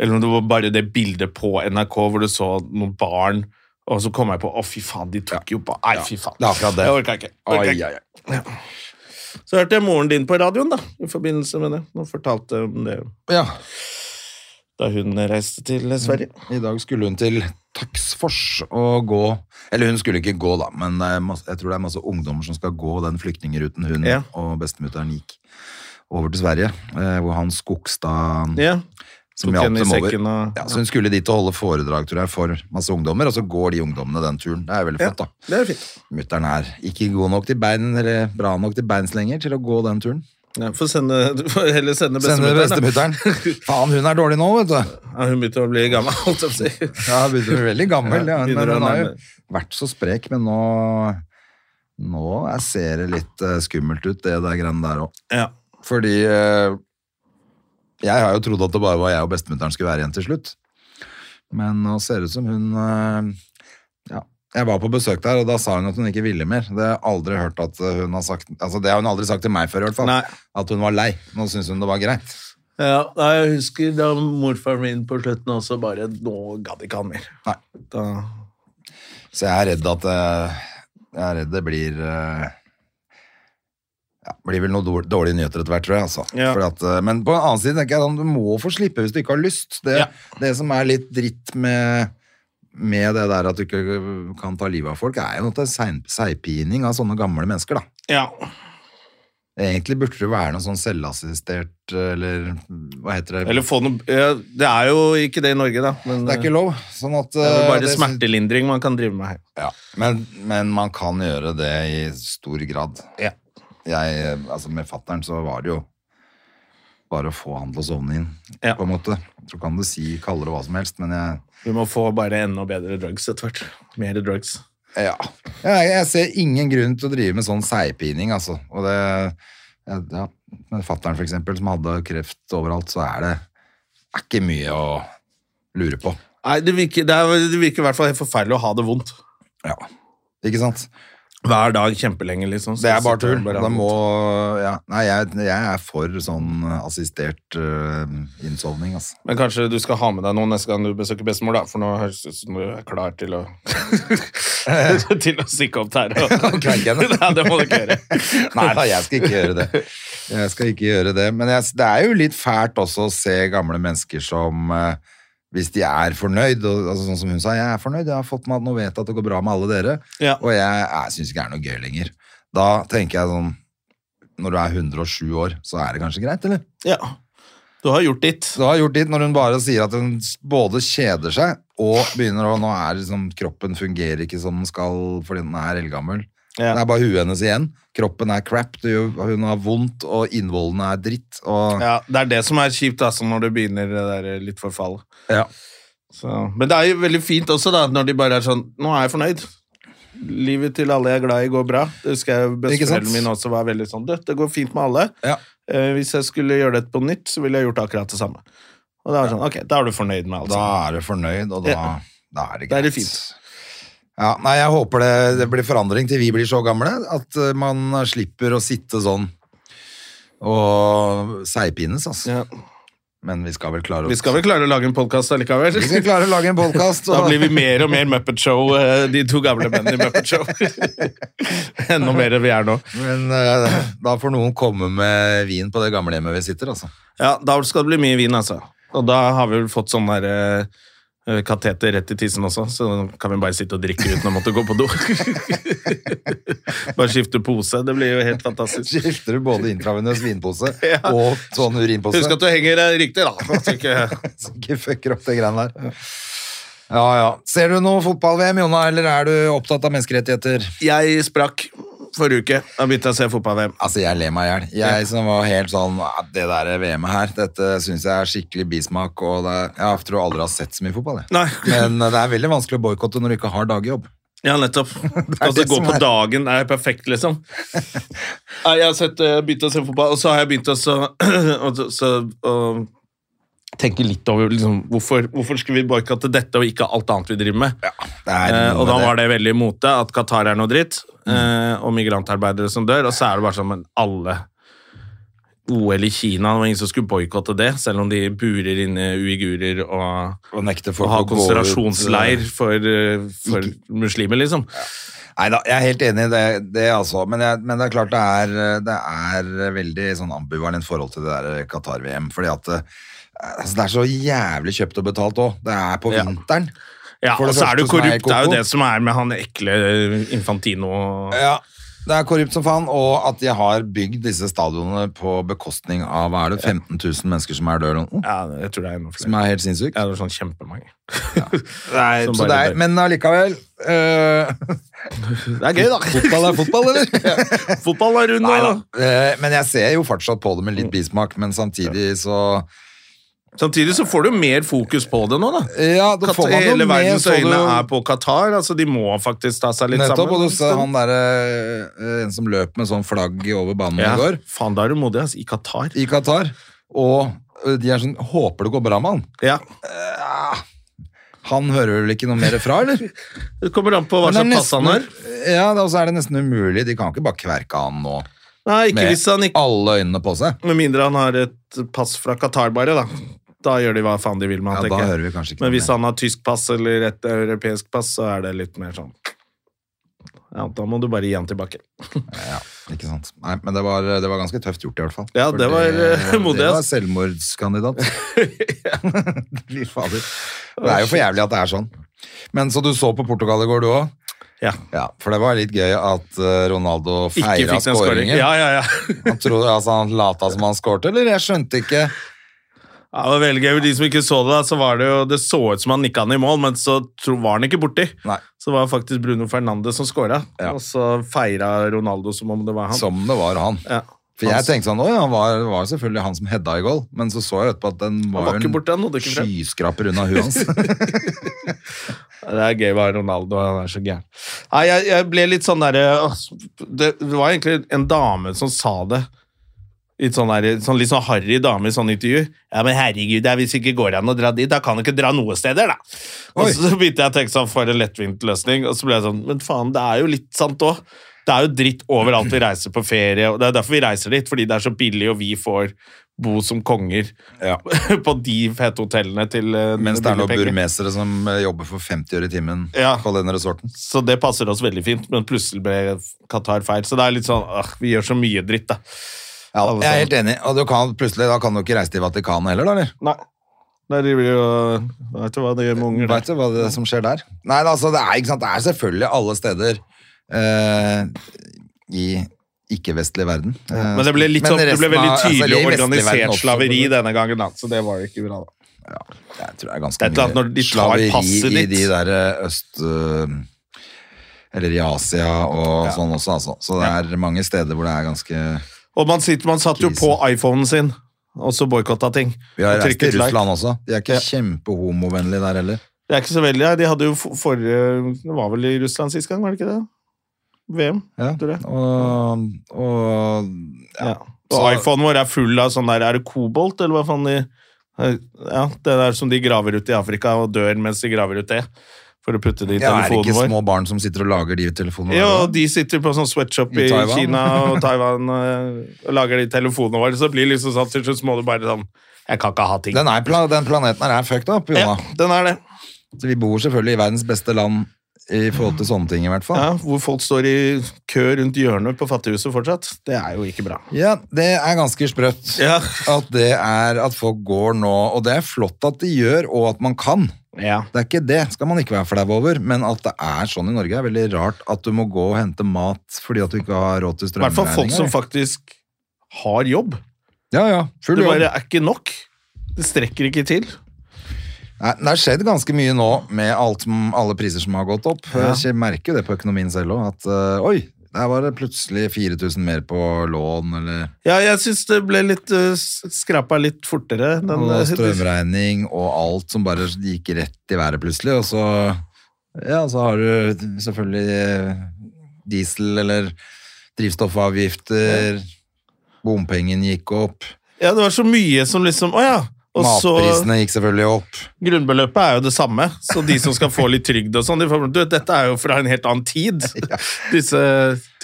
Eller om det var bare det bildet på NRK hvor du så noen barn, og så kom jeg på Å, fy faen, de tok jo på Nei, fy faen. det er akkurat det. Jeg orka ikke. Orka Ai, ikke. ai, ai. Så hørte jeg moren din på radioen, da, i forbindelse med det. Hun fortalte om det Ja, da hun reiste til Sverige. i dag skulle hun til Taksfors og gå Eller hun skulle ikke gå, da, men det er masse, jeg tror det er masse ungdommer som skal gå den flyktningruten hun Ja. og bestemutteren gikk over til Sverige, eh, hvor han Skogstad Ja. som tok hjalp henne i dem over. sekken og- ja, så hun skulle dit og holde foredrag tror jeg, for masse ungdommer, og så går de ungdommene den turen. Det er jo veldig flott, da. Det er fint. Mutter'n er ikke god nok til bein, eller bra nok til beins lenger til å gå den turen. Ja, får sende, du får heller sende Sende bestemutteren. da. bestemutteren. Faen, hun er dårlig nå, vet du. Ja, hun begynte å bli gammel, holdt jeg på å si. Ja, jeg begynte å bli veldig gammel. Ja, Ja, men begynner å den har jo nærme- vært så sprek, men nå, nå er- ser det litt eh, skummelt ut, det der greiene der òg. Ja. Fordi eh, jeg har jo trodd at det bare var jeg og bestemutteren skulle være igjen til slutt. Men nå ser det ut som hun eh, Ja. Jeg var på besøk der, og da sa hun at hun ikke ville mer. Det har jeg aldri hørt at hun har sagt Altså, det har hun aldri sagt til meg før, i hvert fall. Nei. At hun var lei. Nå syns hun det var greit. Ja, nei, jeg husker da morfaren min på slutten også bare Nå gadd ikke han mer. Nei. Da, Så jeg er redd at eh, Jeg er redd det blir eh, ja, blir vel noen dår- dårlige nyheter etter hvert, tror jeg. Altså. Ja. Fordi At, eh, men på den annen side tenker jeg sånn, du må få slippe hvis du ikke har lyst. Det, Ja. det som er litt dritt med, med det der at du ikke kan ta livet av folk, er jo at det er sein- seigpining av sånne gamle mennesker. da. ja. Egentlig burde det være noe sånn selvassistert, eh, eller hva heter det? Eller få noe ja, Det er jo ikke det i Norge, da. Men eh, det er ikke lov. Sånn at, det er vel eh, bare det- smertelindring man kan drive med her. Ja, men, men man kan gjøre det i stor grad. Ja. Jeg, altså med fatteren så var det jo bare å få han til å sovne inn, Ja. på en måte. Så kan du si, kalle det hva som helst, men jeg, Vi må få bare enda bedre drugs etter hvert. Mer drugs. Ja. Jeg, jeg ser ingen grunn til å drive med sånn seigpining, altså. Og det, ja, med fatteren for eksempel, som hadde kreft overalt, så er det er ikke mye å lure på. Nei, det virker, det, er, det virker i hvert fall helt forferdelig å ha det vondt. Ja. Ikke sant? Hver dag kjempelenge, liksom. Så Det er bare sitter tull. man Da og- må, ja. Nei, jeg, jeg er for sånn assistert øh, innsovning, altså. Men kanskje du skal ha med deg noen neste gang du besøker bestemor, da, for nå høres det ut som du er klar til å Til å stikke opp tæra. kvekke henne. Nei, det må du ikke gjøre. Nei da, jeg skal ikke gjøre det. Jeg skal ikke gjøre det. Men jeg, det er jo litt fælt også å se gamle mennesker som eh, Hvis de er fornøyd, og, altså, sånn som hun sa, jeg er fornøyd, jeg har fått med at nå vet jeg at det går bra med alle dere, Ja. og jeg, jeg syns ikke det er noe gøy lenger. Da tenker jeg sånn Når du er 107 år, så er det kanskje greit, eller? Ja. Du har gjort ditt. Så du har gjort dit når hun bare sier at hun s- både kjeder seg og begynner å Nå er det liksom Kroppen fungerer ikke som den skal fordi den er eldgammel. Ja. Det er bare huet hennes igjen. Kroppen er crap, det gjør- hun har vondt, og innvollene er dritt. Og, Ja, Det er det som er kjipt, altså, når det begynner det der eh, litt forfallet. Ja. Så, men det er jo veldig fint også, da, når de bare er sånn Nå er jeg fornøyd. Livet til alle jeg er glad i, går bra. Det husker jeg sant? Besteforeldrene mine også var veldig sånn «Du, Det går fint med alle. Ja. Eh, hvis jeg skulle gjøre det på nytt, så ville jeg gjort akkurat det samme. Og da er det sånn, ok, da er du fornøyd med alt. Da sammen. er du fornøyd, og da, Ja. da er det greit. Da er det fint. Ja, nei, jeg håper det, det blir forandring til vi blir så gamle, at eh, man slipper å sitte sånn og seigpines, altså. Ja. Men vi skal vel klare å Vi skal vel klare å lage en podkast allikevel? Vi skal klare å lage en podkast. Da blir vi mer og mer Muppet Show, eh, de to gamle mennene i Muppet Show. Enda mer enn vi er nå. Men eh, da får noen komme med vin på det gamlehjemmet vi sitter, altså. Ja, da skal det bli mye vin, altså. Og da har vi vel fått sånn der eh, kateter rett i tissen også, så kan vi bare sitte og drikke uten å måtte gå på do. bare skifte pose. Det blir jo helt fantastisk. Skifter du både intravenøs vinpose og sånn urinpose? Husk at du henger eh, riktig, da. Så ikke- Så ikke fucker opp det greiene der. Ja, ja. Ser du noe fotball-VM, Jonna, eller er du opptatt av menneskerettigheter? Jeg sprakk forrige uke. Da begynte jeg å se fotball-VM. Altså, jeg ler meg i hjel. Jeg som var helt sånn "Ah, Det der VM-et her, dette syns jeg er skikkelig bismak, og det er, jeg tror aldri har sett så mye fotball, jeg. Nei. Men eh, det er veldig vanskelig å boikotte når du ikke har dagjobb. Ja, nettopp. er Altså, det gå som på er- dagen er perfekt, liksom. Nei, jeg har sett, eh, begynt å se fotball, og så har jeg begynt å så- og så- så- å tenke litt over liksom, hvorfor, hvorfor skulle vi boikotte dette og ikke alt annet vi driver med. Det Mm. er Eh, noe og da med var det veldig i mote at Qatar er noe dritt, eh, og migrantarbeidere som dør, og så er det bare sånn, men alle OL i Kina, det var ingen som skulle boikotte det, selv om de burer inne uigurer og å nekte og folk ha å gå ut, eh, konsentrasjonsleir for, eh, for muslimer, liksom. Nei da, jeg er helt enig i det, det altså. Men, jeg, men det er klart det er, det er veldig sånn ambivalent forhold til det der Qatar-VM. Fordi at eh, altså, det er så jævlig kjøpt og betalt òg. Det er på Ja. vinteren. Ja, For det og så første er det jo som er korrupt. Det er koko. jo det som er med han ekle Infantino. Ja. Det er korrupt som faen, og at de har bygd disse stadionene på bekostning av hva er det, 15 000 mennesker som er døde, eller noe? Ja, jeg tror det er enda flere. Som er helt sinnssykt. Ja, det er sånn kjempemange. Som Så bare det er, dør. men allikevel eh, det er gøy, da. Fotball er fotball, eller? Fotball er rund, da. Eh, men jeg ser jo fortsatt på det med litt bismak, men samtidig så Samtidig så får du mer fokus på det nå, da. Ja, da Kat- får man jo Hele med, verdens så øyne du- er på Qatar, altså de må faktisk ta seg litt Nettopp, og sammen. du ser han der, eh, en som løp med sånn flagg over banen ja. i går, Faen, da er du modig, altså. I Qatar. i Qatar, og eh, de er sånn, håper det går bra med han. Ja. Ah. Han hører vel ikke noe mer fra, eller? Det kommer an på hva Men det er slags pass han har. Ja, da- og så er det nesten umulig, de kan ikke bare kverke han nå, Nei, ikke med hvis han ikke alle øynene på seg. Med mindre han har et pass fra Qatar, bare, da. Da gjør de hva faen de vil med Ja, han, da tenker jeg. hører vi kanskje ikke Men noe hvis han har tysk pass eller et europeisk pass, så er det litt mer sånn Ja, da må du bare gi han tilbake. mer. Ikke sant? Nei, men det var, det var ganske tøft gjort i hvert fall. Ja, For det var, eh, modig, Det var ass. selvmordskandidat. Fy fader. Det er jo for jævlig at det er sånn. Men så du så på Portugal i går, du også? Ja. Ja, for det var litt gøy at eh, Ronaldo Ikke feira fikk den skåringen. skåringen. Ja, ja, ja. Han trodde altså han lata som han skårte, eller? Jeg skjønte ikke. Ja, det var veldig gøy. For de som ikke så det, da, så var det jo Det så ut som han nikka han i mål, men så tro, var han ikke borti. Nei. Så var det faktisk Bruno Fernandes som scora, Ja. og så feira Ronaldo som om det var han. Som det var han. Ja. For jeg tenkte sånn, oi, han var, var jo selvfølgelig han som hedda i goal, men så så jeg etterpå at den var, var ikke borte, han jo nådde en ikke frem. skyskraper unna huet hans. Det er gøy å være Ronaldo, han er så gæren. Nei, jeg, jeg ble litt sånn derre åh, Det det var egentlig en dame som sa det. Litt sånn, der, sånn, litt sånn harry dame i sånn intervju. Ja, men herregud, det er hvis ikke går an å dra dit, da kan du ikke dra noe steder, da. Oi. Og så begynte jeg å tenke sånn, for en lettvint løsning. Og så ble jeg sånn, men faen, det er jo litt sant òg. Det er jo dritt overalt vi reiser på ferie, og det er derfor vi reiser dit, fordi det er så billig, og vi får bo som konger på de fete hotellene til eh, Mens det er noen billige penger. burmesere som eh, jobber for 50 øre i timen Ja. på den resorten. Så det passer oss veldig fint, men plutselig ble Qatar feil. Så det er litt sånn ah, Vi gjør så mye dritt, da. Ja, Alle jeg er sammen. helt enig. Og du kan, plutselig, da kan du ikke reise til Vatikanet heller, da, eller? Nei. Der driver de og Vet du hva det gjør med unger? Vet da. du hva det som skjer der? Nei, da, altså, det er, ikke sant? Det er selvfølgelig alle steder eh, i ikke-vestlig verden. Eh, Men det ble litt men sånn, det ble resten veldig av- altså, tydelig i vestlig verden organisert også. slaveri denne gangen, da. Så det var jo ikke bra, da. Jeg tror det er ganske Det er et eller annet når de mye tar slaveri passet i ditt. de der eh, øst... eh, Eller i Asia og sånn også, altså. Så det er mange steder hvor det er ganske... Og man, sitter, man satt jo Krise. på iPhonen sin og så boikotta ting. Vi har Og reist til trykket like. Russland også. De er ikke kjempehomovennlige der heller. Det er ikke så veldig, nei, De hadde jo for- forrige Det var vel i Russland sist gang, var det ikke det? VM, Ja. tror jeg. Og, og Ja. Og Så- iPhonen vår er full av sånn der Er det kobolt, eller hva faen de Ja, det der som de graver ut i Afrika og dør mens de graver ut det. For å putte det i ja, er det telefonen ikke vår. små barn som sitter og lager de telefonene? Ja, der, da? og de sitter på sånn sweatshop I i, Taiwan. Kina og Taiwan eh, og lager de telefonene våre. Så blir det liksom sånn til slutt så må du bare sånn Jeg kan ikke ha ting. Den, er, pla- den planeten her er fucked up, ja, Jonna. den er det. Så vi bor selvfølgelig i verdens beste land i forhold til sånne ting, i hvert fall. Ja, hvor folk står i kø rundt hjørnet på fattighuset fortsatt. Det er jo ikke bra. Ja, det er ganske sprøtt. Ja. At det er at folk går nå, og det er flott at de gjør, og at man kan. Ja. Det er ikke det, skal man ikke være flau over, men at det er sånn i Norge er veldig rart at du må gå og hente mat fordi at du ikke har råd til I hvert fall folk som strømregninger. faktisk har jobb. Ja, ja, full Det jobb. bare er ikke nok. Det strekker ikke til. Nei, det har skjedd ganske mye nå med alt, som- alle priser som har gått opp. Jeg merker jo det på økonomien selv òg, at øh, oi, der var det plutselig 4000 mer på lån, eller Ja, jeg syns det ble litt uh, skrapa litt fortere. Den, og eh, strømregning og alt som bare gikk rett i været plutselig, og så ja, så har du selvfølgelig eh, diesel eller drivstoffavgifter, bompengen gikk opp, ja, det var så mye som liksom Å ja. Og så matprisene gikk selvfølgelig opp. Grunnbeløpet er jo det samme, så de som skal få litt trygd og sånn, de får Du, dette er jo fra en helt annen tid, disse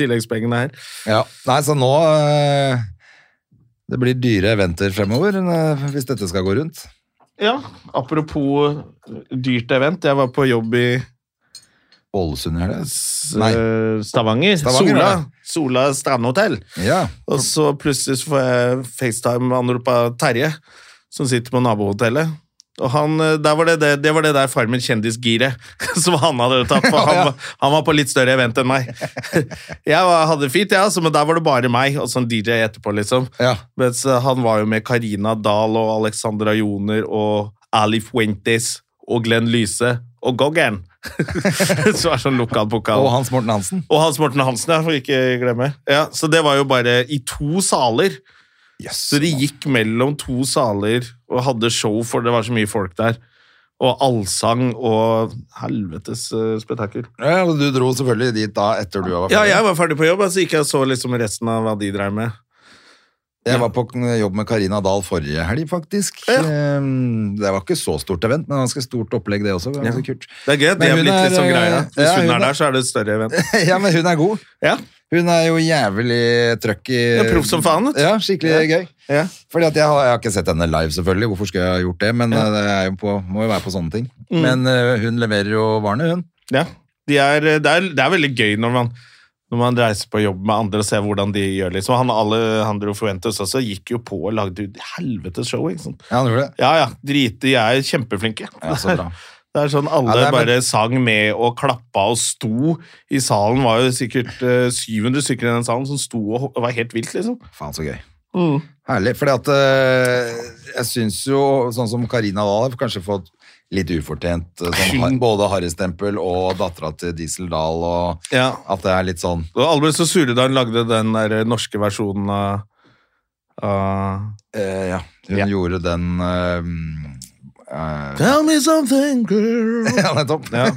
tilleggspengene her. Ja, nei, så nå eh, Det blir dyre eventer fremover eh, hvis dette skal gå rundt. Ja, apropos dyrt event. Jeg var på jobb i Ålesund gjør det. s- Nei. eh, Stavanger. Stavanger, Sola. ja. Sola strandhotell. Ja. Og så plutselig så får jeg FaceTime-anrop av Terje, som sitter på nabohotellet. Og han, eh, der var det, det, det var det der Farmen kjendisgiret som han hadde tatt, for han, var- han var på litt større event enn meg. Jeg var, hadde det fint, jeg, altså, men der var det bare meg og sånn DJ etterpå, liksom. Ja. Mens eh, han var jo med Karina Dahl og Alexandra Joner og Ali Fuentes og Glenn Lyse og Goggen. så er det sånn lokal pokal. Og Hans Morten Hansen. Og Hans Morten Hansen, ja, får vi ikke glemme. Ja, så det var jo bare i to saler. Yes. Så de gikk mellom to saler og hadde show, for det var så mye folk der. Og allsang og helvetes eh, spetakkel. Ja, og du dro selvfølgelig dit da etter du var ferdig. Ja, jeg var ferdig på jobb, så altså, gikk jeg og så liksom resten av hva de dreiv med. Jeg var på jobb med Karina Dahl forrige helg, faktisk. Ja. Eh, Det var ikke så stort event, men ganske stort opplegg, det også. Det var Ganske kult. Det er gøy at det Men er hun blitt er, litt sånn eh, greia. Hvis ja, hun hun er er- der, så er det et større event. Ja, men hun er god. Ja, Hun er jo jævlig trøkk i Ja, proff som faen, vet du. Ja, skikkelig gøy. ja. Fordi at jeg har, jeg har ikke sett henne live, selvfølgelig. Hvorfor skulle jeg ha gjort det? Men eh, det er jo på, må jo være på sånne ting. Men eh, hun leverer jo varene, hun. ja. De er, eh, det, er, det er veldig gøy når man, når man reiser på jobb med andre og ser hvordan de gjør. liksom. Han Alejandro Fuentes også gikk jo på og lagde jo helvetes show. ikke sant? Ja, han gjorde det. Ja, ja. Drite, de er kjempeflinke. Ja, så bra. Det er sånn Alle Ja, det er vel- bare sang med og klappa og sto. I salen var jo sikkert eh, 700 stykker i den salen som sto og ho- og var helt vilt, liksom. Faen, så gøy. Mm. Herlig. Fordi at eh, jeg syns jo, sånn som Karina Dahl har kanskje fått litt ufortjent eh, sånn, har- både Harry-stempel og dattera til Diesel Dahl, og Ja. at det er litt sånn Og alle ble så sure da hun lagde den der norske versjonen av Ah. Eh, ja. Hun Ja. gjorde den eh, eh, Tell me something, girl. Ja, nettopp. Ja.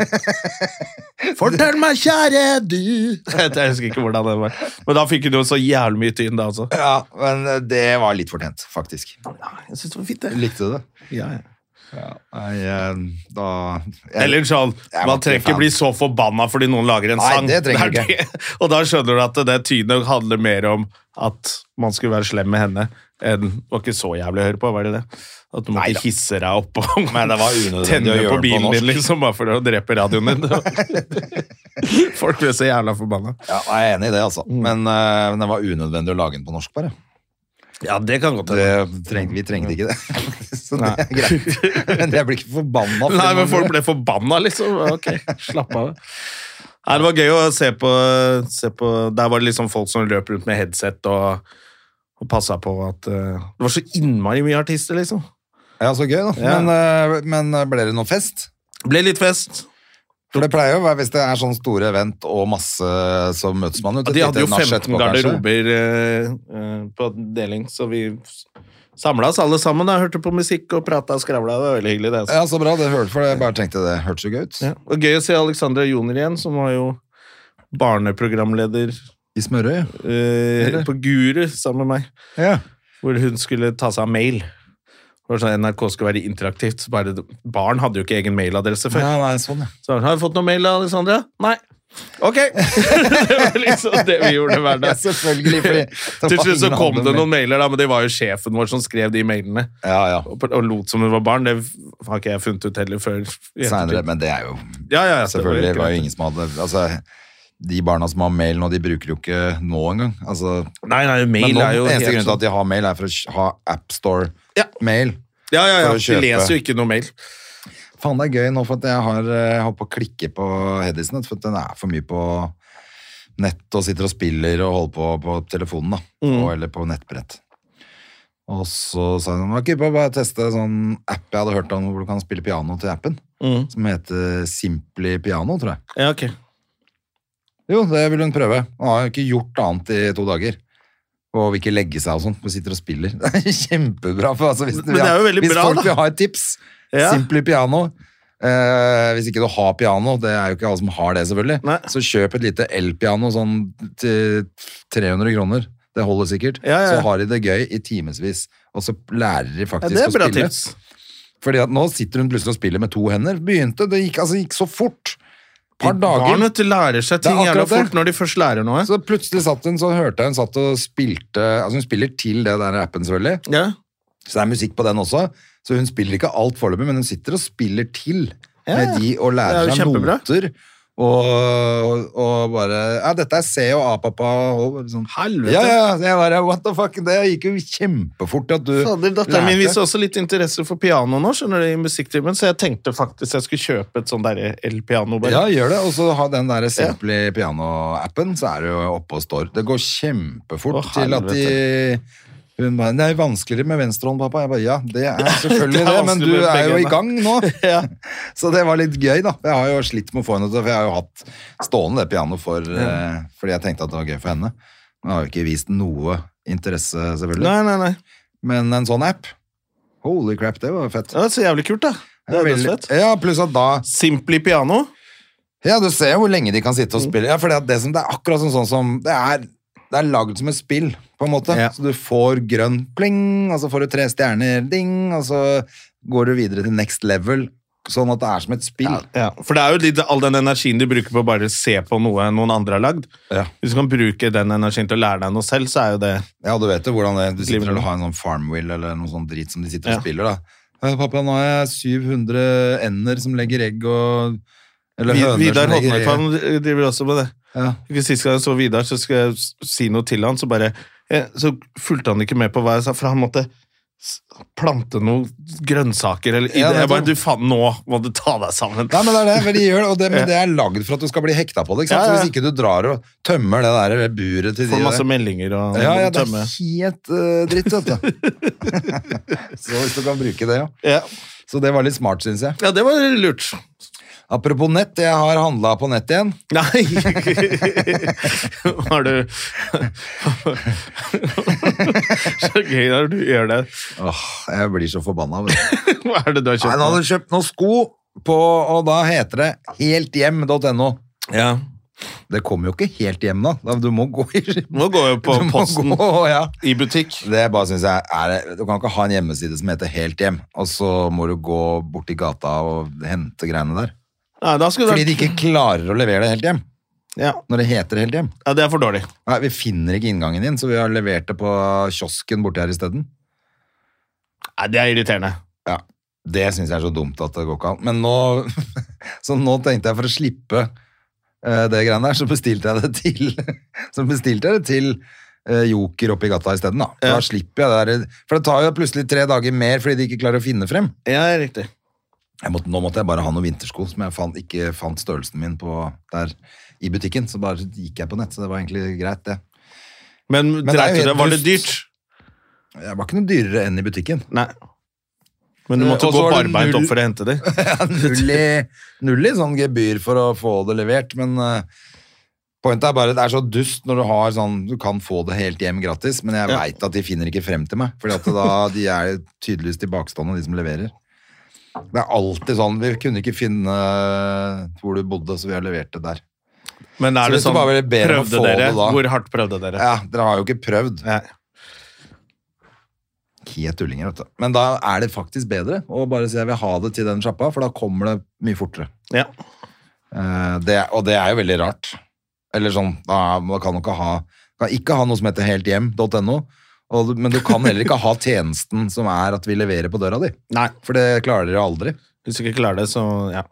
Fortell meg, kjære du Jeg husker ikke hvordan den var. Men da fikk hun jo så jævlig mye tyn, da også. Ja, men eh, det var litt fortjent, faktisk. Jeg synes det var fint, det. Likte du det? Ja, ja. Nei, eh, da jeg, Eller sånn, Jeg var Man trenger ikke fan. ikke bli så forbanna fordi noen lager en Nei, sang. det trenger er du ikke. det. Og da skjønner du at det tynet handler mer om at man skulle være slem med henne, enn det var ikke så jævlig å høre på, var det det? At du måtte Neida. ikke hisse deg opp og det var unødvendig å tenne gjøre på det på bilen norsk. din, liksom, bare for å drepe radioen din. Folk ble så jævla forbanna. Ja, jeg er enig i det, altså. Mm. Men, eh, men det var unødvendig å lage den på norsk, bare. Ja, det kan godt Det treng, vi trengte ikke det. Så det er greit. Men jeg blir ikke forbanna. Nei, men folk ble forbanna, liksom. Ok, slapp av. Nei, det var gøy å se på, se på Der var det liksom folk som løp rundt med headset og, og passa på at eh, Det var så innmari mye artister, liksom. Ja, så gøy, da. Ja. Men, eh, men eh, ble det noe fest? Det ble litt fest. For det pleier jo å være hvis det er sånn store event og masse eh, så møtes man ute. De hadde jo Litt nach 15 etterpå, kanskje. garderober eh, eh, på deling, så vi samla oss alle sammen. Da, hørte på musikk og prata og skravla. Det var veldig hyggelig, det. altså. Ja, så bra. Det hørte for det. Jeg bare tenkte det hørtes så gøy ut. Ja. Og gøy å se Alexandra Joner igjen, som var jo barneprogramleder I Smørøy. eh, Eller? på Guru sammen med meg. Ja. hvor hun skulle ta seg av mail. Det var sånn NRK skulle være interaktivt. så Bare, barn hadde jo ikke egen mailadresse før. ja, nei, sånn, ja. Så har du fått noe mail av Alexandra? Nei. Ok! det var liksom det vi gjorde hver Ja, dag. selvfølgelig. Fordi det Til var slutt så ingen kom andre det noen med. mailer, da, men det var jo sjefen vår som skrev de mailene. Ja, ja. Og, og lot som hun var barn. Det har ikke jeg funnet ut heller før. i ettertid. Senere, men det er jo Ja, ja, ja, det var Selvfølgelig. Det helt var jo greit. ingen som hadde Altså, de barna som har mail nå, de bruker jo ikke nå engang. Altså, Nei, nei, mail men nå, er jo eneste helt grunnen til sånn- at de har mail, er for å kj- ha Ja. AppStore-mail. Ja, ja, ja. for å De kjøpe. leser jo ikke noe mail. Faen, det er gøy nå for at jeg har eh, holdt på å klikke på Hedisen, for at den er for mye på nett og sitter og spiller og holder på på telefonen, da. Mm. Og, eller på nettbrett. Og så sa hun at jeg bare teste sånn app jeg hadde hørt om hvor du kan spille piano til appen, Mm. som heter Simply Piano, tror jeg. Ja, ok. Jo, det vil hun prøve. Hun har jo ikke gjort annet i to dager. Og vil ikke legge seg og sånt, men sitter og spiller. Det er kjempebra. For, altså, hvis, Men det er jo veldig hvis bra, folk da. vil ha et tips, Ja. Simply Piano eh, Hvis ikke du har piano, det er jo ikke alle som har det, selvfølgelig, Nei. så kjøp et lite elpiano sånn til 300 kroner. Det holder sikkert. Ja, ja, ja. Så har de det gøy i timevis, og så lærer de Ja, faktisk det er å bra spille. tips. Fordi at nå sitter hun plutselig og spiller med to hender. Begynte, Det gikk, altså, gikk så fort. Par dager. Barn vet du, lærer seg Det er ting jævla akkurat det. fort når de først lærer noe. Så plutselig satt hun, så hørte jeg hun satt og spilte Altså hun spiller til det der appen, selvfølgelig. Ja. Så det er musikk på den også. Så hun spiller ikke alt foreløpig, men hun sitter og spiller til med de og Det lærer er jo seg kjempebra. noter. Og, og bare Ja, dette er C og A, pappa. Og sånn. Helvete. Ja, ja. Jeg bare, What the fuck? Det gikk jo kjempefort at du Fader, datteren min viser også litt interesse for piano nå, skjønner du, i musikktimen, så jeg tenkte faktisk jeg skulle kjøpe et sånn derre elpiano. Ja, bare. gjør det. Og så ha den der simple piano-appen, så er det jo oppe og står. Det går kjempefort Å, til at de hun bare, Det er vanskeligere med venstrehånd, pappa. Jeg bare, ja, det er selvfølgelig Det det, er men vanskelig du med begge er jo i hendene. gang nå. Så det var litt gøy, da. Jeg har jo slitt med å få henne til For jeg har jo hatt stående det pianoet for, eh, fordi jeg tenkte at det var gøy for henne. Men jeg har jo ikke vist noe interesse, selvfølgelig. Nei, nei, nei. Men en sånn app Holy crap, det var fett. Ja, det er så jævlig kult, da. Det er Veldig- dødsfett. ja, pluss at da Simply piano. Ja, du ser jo hvor lenge de kan sitte og Mm. spille. Ja, for det, at det, som, det er akkurat sånn, sånn som Det er, det er lagd som et spill, på en måte. Ja. Så du får grønn pling, og så får du tre stjerner ding, og så går du videre til next level. Sånn at det er som et spill. Ja, For det er jo litt all den energien du bruker på å bare se på noe noen andre har lagd. Ja. Hvis du kan bruke den energien til å lære deg noe selv, så er jo det Ja, du vet jo hvordan det Du sitter Livet. og har en sånn farmwheel eller noe sånn drit som de sitter Ja. og spiller, da. «Eh, Pappa, nå har jeg 700 ender som legger egg og Eller Vi- høner Vidar som legger egg. Holmøyfan driver også med det. Ja. Ikke Sist gang jeg så Vidar, så skulle jeg s- si noe til han, så bare eh, Så fulgte han ikke med på hva jeg sa, for han måtte s- plante noen grønnsaker eller Ja, det Jeg bare tror Du faen, nå må du ta deg sammen. Nei, men det er det, for de gjør det, og det, men det er lagd for at du skal bli hekta på det. ikke sant? Ja, ja. Så Hvis ikke du drar og tømmer det der buret til de Får der- masse meldinger og Ja, ja, må det er tømme. helt eh, dritt, vet du. så hvis du kan bruke det, ja. Ja. Så det var litt smart, syns jeg. ja, det var lurt. Apropos nett, jeg har handla på nett igjen. Nei! Har du Så gøy når du gjør det. Åh, jeg blir så forbanna. vet du. Hva er det du har Nei, kjøpt? Han hadde kjøpt noen sko, på, og da heter det helthjem.no. Ja. Det kommer jo ikke helt hjem, da. Da- Du må gå i Nå går jeg på du må posten Gå, ja. i butikk. Det bare synes jeg er det. Du kan ikke ha en hjemmeside som heter Helt hjem, og så må du gå borti gata og hente greiene der. Nei, da skulle Fordi du de ikke klarer å levere det helt hjem. ja. Når det heter Helt hjem. ja, det er for dårlig. Nei, Vi finner ikke inngangen din, så vi har levert det på kiosken borti her isteden. Nei, det er irriterende. Ja, det syns jeg er så dumt at det går ikke an. Men nå, så nå tenkte jeg for å slippe eh, det greiene der, så bestilte jeg det til, så bestilte jeg det til eh, Joker oppe i gata isteden. Da. Ja. da slipper jeg det der. For det tar jo plutselig tre dager mer fordi de ikke klarer å finne frem. Ja, riktig. Jeg måtte, nå måtte jeg bare ha noen vintersko som jeg fant, ikke fant størrelsen min på der i butikken. Så bare gikk jeg på nett, så det var egentlig greit, det. Men, det er jo dreit du helt det? Var det dust. dyrt? Jeg var ikke noe dyrere enn i butikken. Nei. Men du Eh, måtte og så gå var det barbeint null- opp for å hente de. null, i, null i sånn gebyr for å få det levert, men eh, pointet er bare det er så dust når du har sånn Du kan få det helt hjem gratis, men jeg Ja. vet veit at de finner ikke frem til meg, Fordi at da de er tydeligvis tilbakestående, de som leverer. Det er alltid sånn Vi kunne ikke finne eh, hvor du bodde, så vi har levert det der. Men Så er det hvis du sånn bare vil be dem å Prøvde få det dere? da. Hvor hardt prøvde dere? Ja, dere har jo ikke prøvd. Ja. Helt tullinger, vet du. Men da er det faktisk bedre å bare si jeg vil ha det til den sjappa, for da kommer det mye fortere. Ja. Eh, det, og det er jo veldig rart. Eller sånn, da, man kan jo ikke ha kan ikke ha noe som heter helthjem.no, og du- men du kan heller ikke ha tjenesten som er at vi leverer på døra di. Nei. For det klarer dere aldri. Hvis du ikke klarer det, så ja.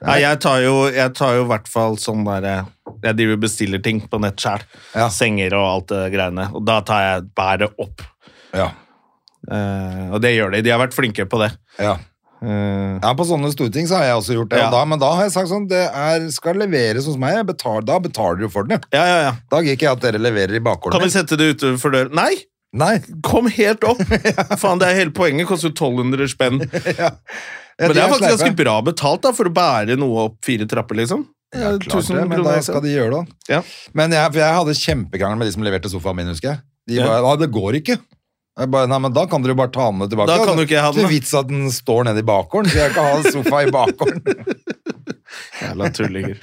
Nei, jeg tar jo jeg tar jo i hvert fall sånn derre Jeg driver og bestiller ting på nett sjæl. Ja. Senger og alt det greiene. Og da tar jeg bæret opp. Ja. Eh, og det gjør de. De har vært flinke på det. ja. Eh, Ja, På sånne store ting så har jeg også gjort det, Ja. og da, men da har jeg sagt sånn Det er, skal leveres hos meg, jeg betal, da betaler du for den. ja. ja, ja, ja. Da gir ikke jeg at dere leverer i Kan vi bakgården. sette det utenfor døren? Nei! Nei, Kom helt opp! Faen, det er hele poenget. Koster jo 1200 spenn. Ja, Men de det er faktisk sleipe. ganske bra betalt da, for å bære noe opp fire trapper, liksom. Ja, Eh, klart det, men da skal de gjøre det. da. Ja. Men jeg, for jeg hadde kjempekrangel med de som leverte sofaen min, husker jeg. De Ja. bare, nei, det går ikke. Jeg bare, nei, men da kan dere jo bare ta den med tilbake. Da kan du ikke ha den, Det er da. vits at den står nede i bakgården, så jeg kan ha sofa i bakgården. Jævla tullinger.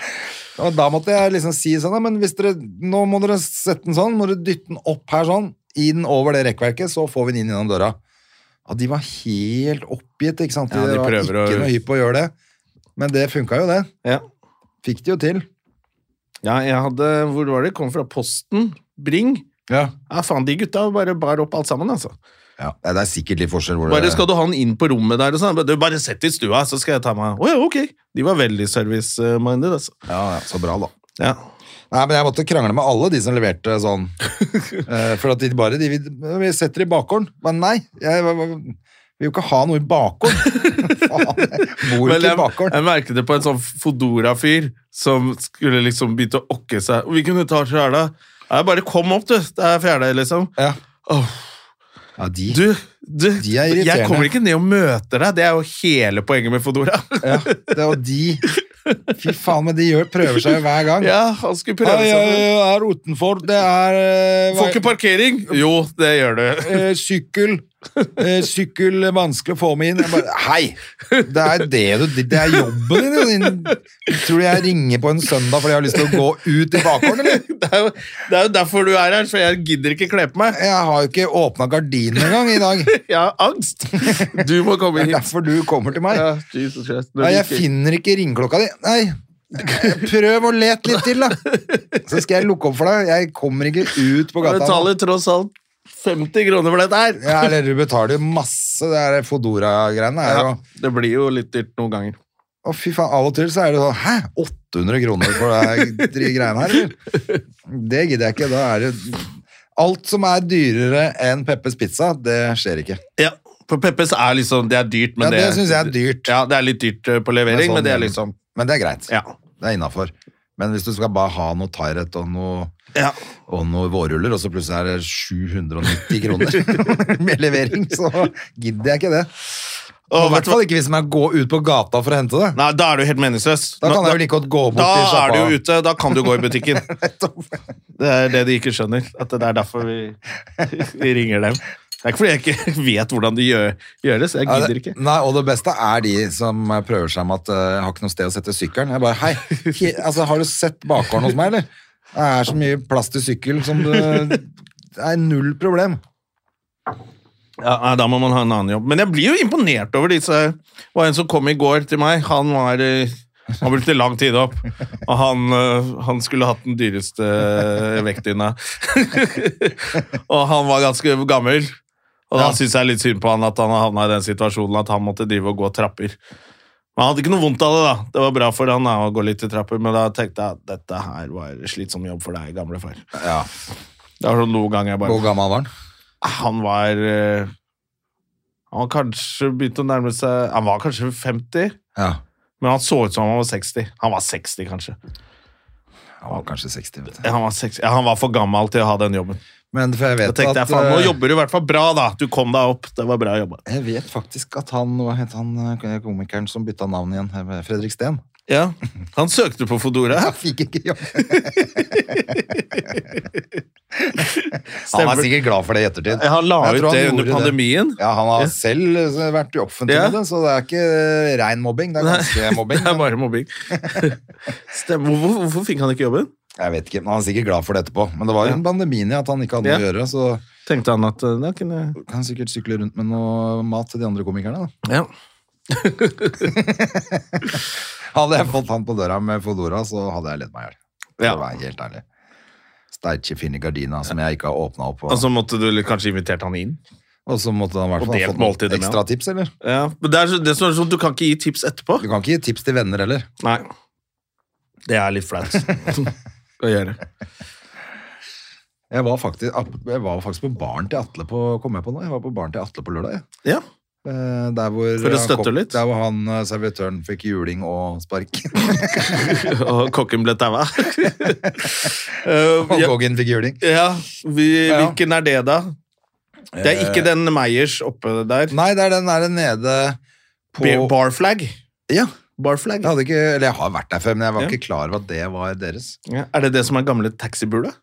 Og da måtte jeg liksom si sånn, «Nei, men hvis dere, nå må dere sette den sånn, må dere dytte den opp her sånn, inn over det rekverket, så får vi den inn gjennom døra. Ja, de var helt oppgitt, ikke sant? Ja, de var prøver ikke å- noe hypp på å gjøre det. Men det funket jo det. Ja. Fikk de jo til. ja, jeg hadde Hvor var det? Kom fra Posten. Bring. Ja. Ja, faen, de gutta bare bar opp alt sammen, altså. Nei, Det er sikkert litt forskjell hvor Bare det... skal du ha den inn på rommet der og sånn. Du, bare sett i stua, så skal jeg ta meg Å ja, ok. De var veldig service-minded, altså. Ja, ja, så bra da. Ja. Nei, men jeg måtte krangle med alle de som leverte sånn. Eh, for at de bare de, vil- Vi setter det i bakgården. Men nei, jeg jeg- jeg vil jo ikke ha noe i bakgården. Faen, jeg bor jo ikke i Men jeg, bakgården. jeg merket det på en sånn Fodora-fyr som skulle liksom begynte å okke seg. Vi kunne ta fjæla. Nei, bare kom opp, du. Det er fjæla, liksom. Ja. Åh. Ja, de. Du, du De er irriterende. jeg kommer ikke ned og møter deg. Det er jo hele poenget med Fodora. Ja, det er jo de. Fy faen, men de gjør, prøver seg jo hver gang. Ja, han skulle prøve Nei, jeg, seg. er utenfor. Det er eh, Får ikke parkering. Jo, det gjør du. eh, Sykkel. Eh, sykkel er vanskelig å få meg inn. Jeg bare, Hei! Det er, det, du, det er jobben din. din. Tror du jeg ringer på en søndag fordi jeg har lyst til å gå ut i bakgården, eller? Det er jo, det er jo derfor du er her, for jeg gidder ikke kle på meg. Jeg har jo ikke åpna gardinene engang i dag. Det Jeg har angst. Du må komme er hit. derfor du kommer til meg. Ja, Jesus Christ. Når Nei, du jeg ikke- finner ikke ringeklokka di. Nei, prøv å lete litt til, da. Så skal jeg lukke opp for deg. Jeg kommer ikke ut på Jeg gata. nå. betaler tross alt 50 kroner for dette her. Ja, eller du betaler jo masse. Det er Fodora-greiene. er jo... Ja, det blir jo litt dyrt noen ganger. Å, fy faen, av og til så er det sånn Hæ? 800 kroner for det her greiene her, eller? Det gidder jeg ikke. Da er det Alt som er dyrere enn Peppes pizza, det skjer ikke. Ja, for Peppes er liksom Det er dyrt, men Ja, det synes jeg er dyrt. Ja, det er litt dyrt eh, på levering, Men sånn- men det er liksom Men det er greit. Ja. Det er innafor. Men hvis du skal bare ha noe thairett og noe ja. og noen vårruller, og så plutselig er det 790 kroner med levering, så gidder jeg ikke det. I Og vet hvert du hva? fall ikke hvis man går ut på gata for å hente det. Nei, da er du helt meningsløs. Da Nå- kan jeg jo like godt gå bort da til er sjappa. du jo ute, da kan du gå i butikken. Det er det de ikke skjønner. At det er derfor vi, vi ringer dem. Det er ikke fordi jeg ikke vet hvordan det gjør, gjøres. Jeg Ja, gidder det, ikke. nei, og det beste er de som prøver seg med at eh, jeg har ikke noe sted å sette sykkelen. Jeg bare, hei, he, altså, har du sett bakgården hos meg, eller? Det er så mye plass til sykkel som du... Det er null problem. Ja, nei, da må man ha en annen jobb. Men jeg blir jo imponert over disse Det var en som kom i går til meg. Han var eh, han brukte lang tid opp, og han, eh, han skulle hatt den dyreste eh, vektdyna. og han var ganske gammel, og da syns jeg litt synd på han at han har havna i den situasjonen at han måtte drive og gå trapper. Men han hadde ikke noe vondt av det, da. Det var bra for han da, å gå litt i trapper, men da tenkte jeg at dette her var slitsom jobb for deg, gamle far. Ja. Det var sånn noen ganger jeg bare Hvor gammel var han? han var eh, Han var kanskje begynt å nærme seg Han var kanskje 50, Ja, men han så ut som han var 60. Han var 60, kanskje. han var kanskje 60, vet du. Ja, Han var, 60. Ja, han var for gammel til å ha den jobben. Men for jeg Da vet tenkte at... jeg, faen, Nå eh, jobber du i hvert fall bra, da! Du kom deg opp. Det var bra jobba. Jeg vet faktisk at han, hva het han eh, komikeren som bytta navn igjen? Fredrik Steen. Ja, Han søkte på Fodora. Han fikk ikke jobb. Han Stemmer. er sikkert glad for det i ettertid. Ja, Han la Jeg ut tror han det under gjorde det. pandemien. Ja, han har selv eh, vært i offentlig Ja. med det, så det er ikke eh, rein mobbing, det er ganske mobbing. Det er bare mobbing. Stemmer. Hvorfor, hvorfor fikk han ikke jobben? Jeg vet ikke, men han er sikkert glad for det etterpå. Men det var jo en pandemien i at han ikke hadde noe å Ja. gjøre, så Tenkte han at eh, da kunne kan han sikkert sykle rundt med noe mat til de andre komikerne, da. Ja. Hadde jeg fått han på døra med Fodora, så hadde jeg ledd meg i hjel. For Ja. å være helt ærlig. Sterke, fine gardina som jeg ikke har åpna opp, og, Og så måtte du kanskje invitert han inn? og så måtte han i hvert Og fall ha delt fått noen måltidet med ekstra tips, eller? Ja, men det er så, det som er sånn, Du kan ikke gi tips etterpå. Du kan ikke gi tips til venner heller. Nei. Det er litt flaut å gjøre. Jeg var faktisk, jeg var faktisk på baren til Atle på, kom jeg på nå, jeg var på baren til Atle på lørdag, jeg. Ja. Eh, Der hvor For å han støtte kom- litt? Der hvor han eh, servitøren fikk juling og spark. Og kokken ble taua. Og ja, Goggen fikk juling. Eh, ja, vi, Ja. Eh. hvilken er det, da? Det er ikke den Meyers oppe der. Nei, det er den der nede på Be- Barflag. Ja. Barflag. Jeg, hadde ikke, eller jeg har vært der før, men jeg var Ja. ikke klar over at det var deres. Ja. Er det det som er gamle taxibula?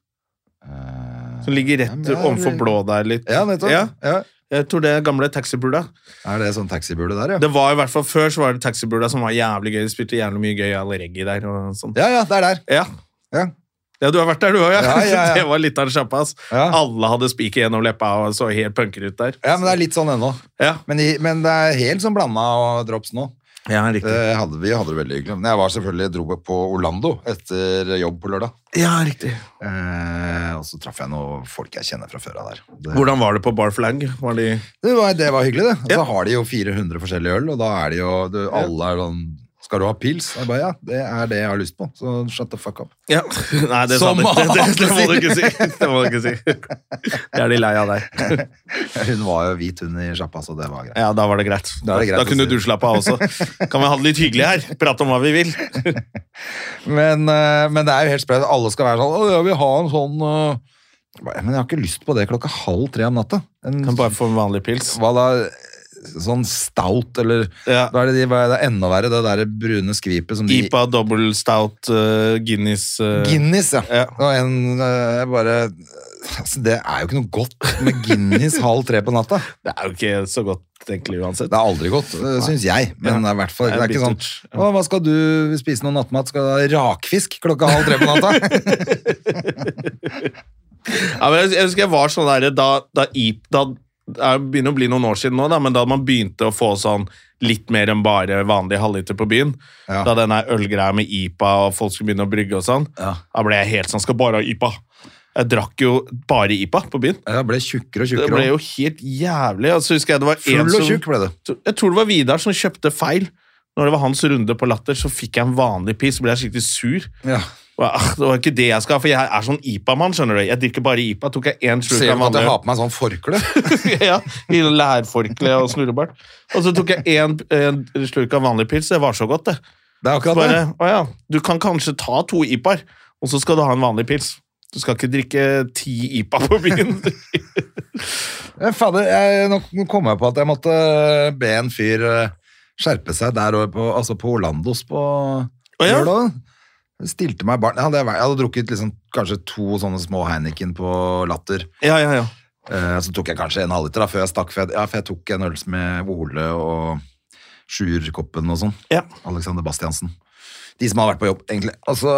Eh, Som ligger rett Ja, men det er- overfor blå der litt? ja, nettopp. Ja. Ja, jeg tror det er gamle taxibula. Er det sånn taxibule der, ja? Det var i hvert fall Før så var det taxibula som var jævlig gøy. De spilte jævlig mye gøy al reggae der. og sånn. Ja, ja, det er der. Ja. Ja. Ja, du har vært der, du òg, ja. Ja, ja, ja. Det var litt av en sjappa. ass. Ja. Alle hadde spiker gjennom leppa og så helt punker ut der. Ja, men det er litt sånn ennå. Ja, Men, i- men det er helt sånn blanda og drops nå. ja Det hadde, vi hadde det veldig hyggelig. Men jeg var selvfølgelig dro på Orlando etter jobb på lørdag. Ja, riktig. Eh, og så traff jeg noen folk jeg kjenner fra før av der. Det, Hvordan var det på Bar Flag? Var de Det var, det var hyggelig, det. Og Ja. så har de jo 400 forskjellige øl, og da er de jo du, Alle er sånn Skal du ha pils? Jeg bare, ja, det er det jeg har lyst på. Så shut the fuck up. ja. Nei, det, sa Som du- det, det, det må du alle ikke si. Det må du ikke si. Det er de lei av deg. Hun var jo hvit, hun i sjappa, så det var greit. Ja, da var det greit. Da er det greit da å kunne si. du slappe av også. Kan vi ha det litt hyggelig her? Prate om hva vi vil. Men, eh, men det er jo helt sprøtt. Alle skal være sånn Å, jeg vil ha en sånn eh». Jeg bare, Men jeg har ikke lyst på det klokka halv tre om natta. En, Kan bare få en vanlig pils. hva da? Sånn stout, eller Ja. Da er det, de, hva er det enda verre, det derre brune skvipet som de IPA, double stout, eh, Guinness eh, Guinness, ja. Ja. Og en eh, jeg bare altså, Det er jo ikke noe godt med Guinness halv tre på natta. Det er jo ikke så godt, egentlig, uansett. Det er aldri godt, syns jeg. Men det er i hvert fall Det det er er ikke sånn bittert, ja. Å, hva skal du spise noe nattmat? Skal du ha rakfisk klokka halv tre på natta? Ja, men jeg, jeg husker jeg var sånn der da, da, IP, da det er- begynner å bli noen år siden nå, da, men da man begynte å få sånn litt mer enn bare vanlig halvliter på byen, Ja. da den der ølgreia med IPA og folk skulle begynne å brygge og sånn, Ja. da ble jeg helt sånn Skal bare ha IPA. Jeg drakk jo bare IPA på byen. Jeg ble tjukkere og Det tjukkere. ble jo helt jævlig. Og så husker jeg det var en Full og som tjukk ble det. Jeg tror det var Vidar som kjøpte feil. Når det var hans runde på Latter, så fikk jeg en vanlig pils, så ble jeg skikkelig sur. Ja. Og, ah, det var ikke det jeg skal ha, for jeg er sånn IPA-mann, skjønner du. Jeg drikker bare IPA. Tok jeg én Ser slurk du at av jeg vanlig har på meg sånn forkle? ja, i lærforkle og snurrebart. Og så tok jeg en, en slurk av vanlig pils. Det var så godt, det. Det er akkurat det. Bare, å ja, du kan kanskje ta to IPA-er, og så skal du ha en vanlig pils. Du skal ikke drikke ti IPA på byen. Eh, Fader, jeg, nå nå kom jeg på at jeg måtte eh, be en fyr eh, skjerpe seg der og på, altså på Orlandos på ja? lørdag. Han Stilte meg barn. Jeg hadde, jeg hadde drukket liksom, kanskje to sånne små Heineken på latter. Ja, ja, ja. Eh, så tok jeg kanskje en halvliter da, før jeg stakk, for jeg, ja, for jeg tok en øl med Ole og Sjurkoppen og sånn. Ja. Alexander Bastiansen. De som har vært på jobb, egentlig. Og så,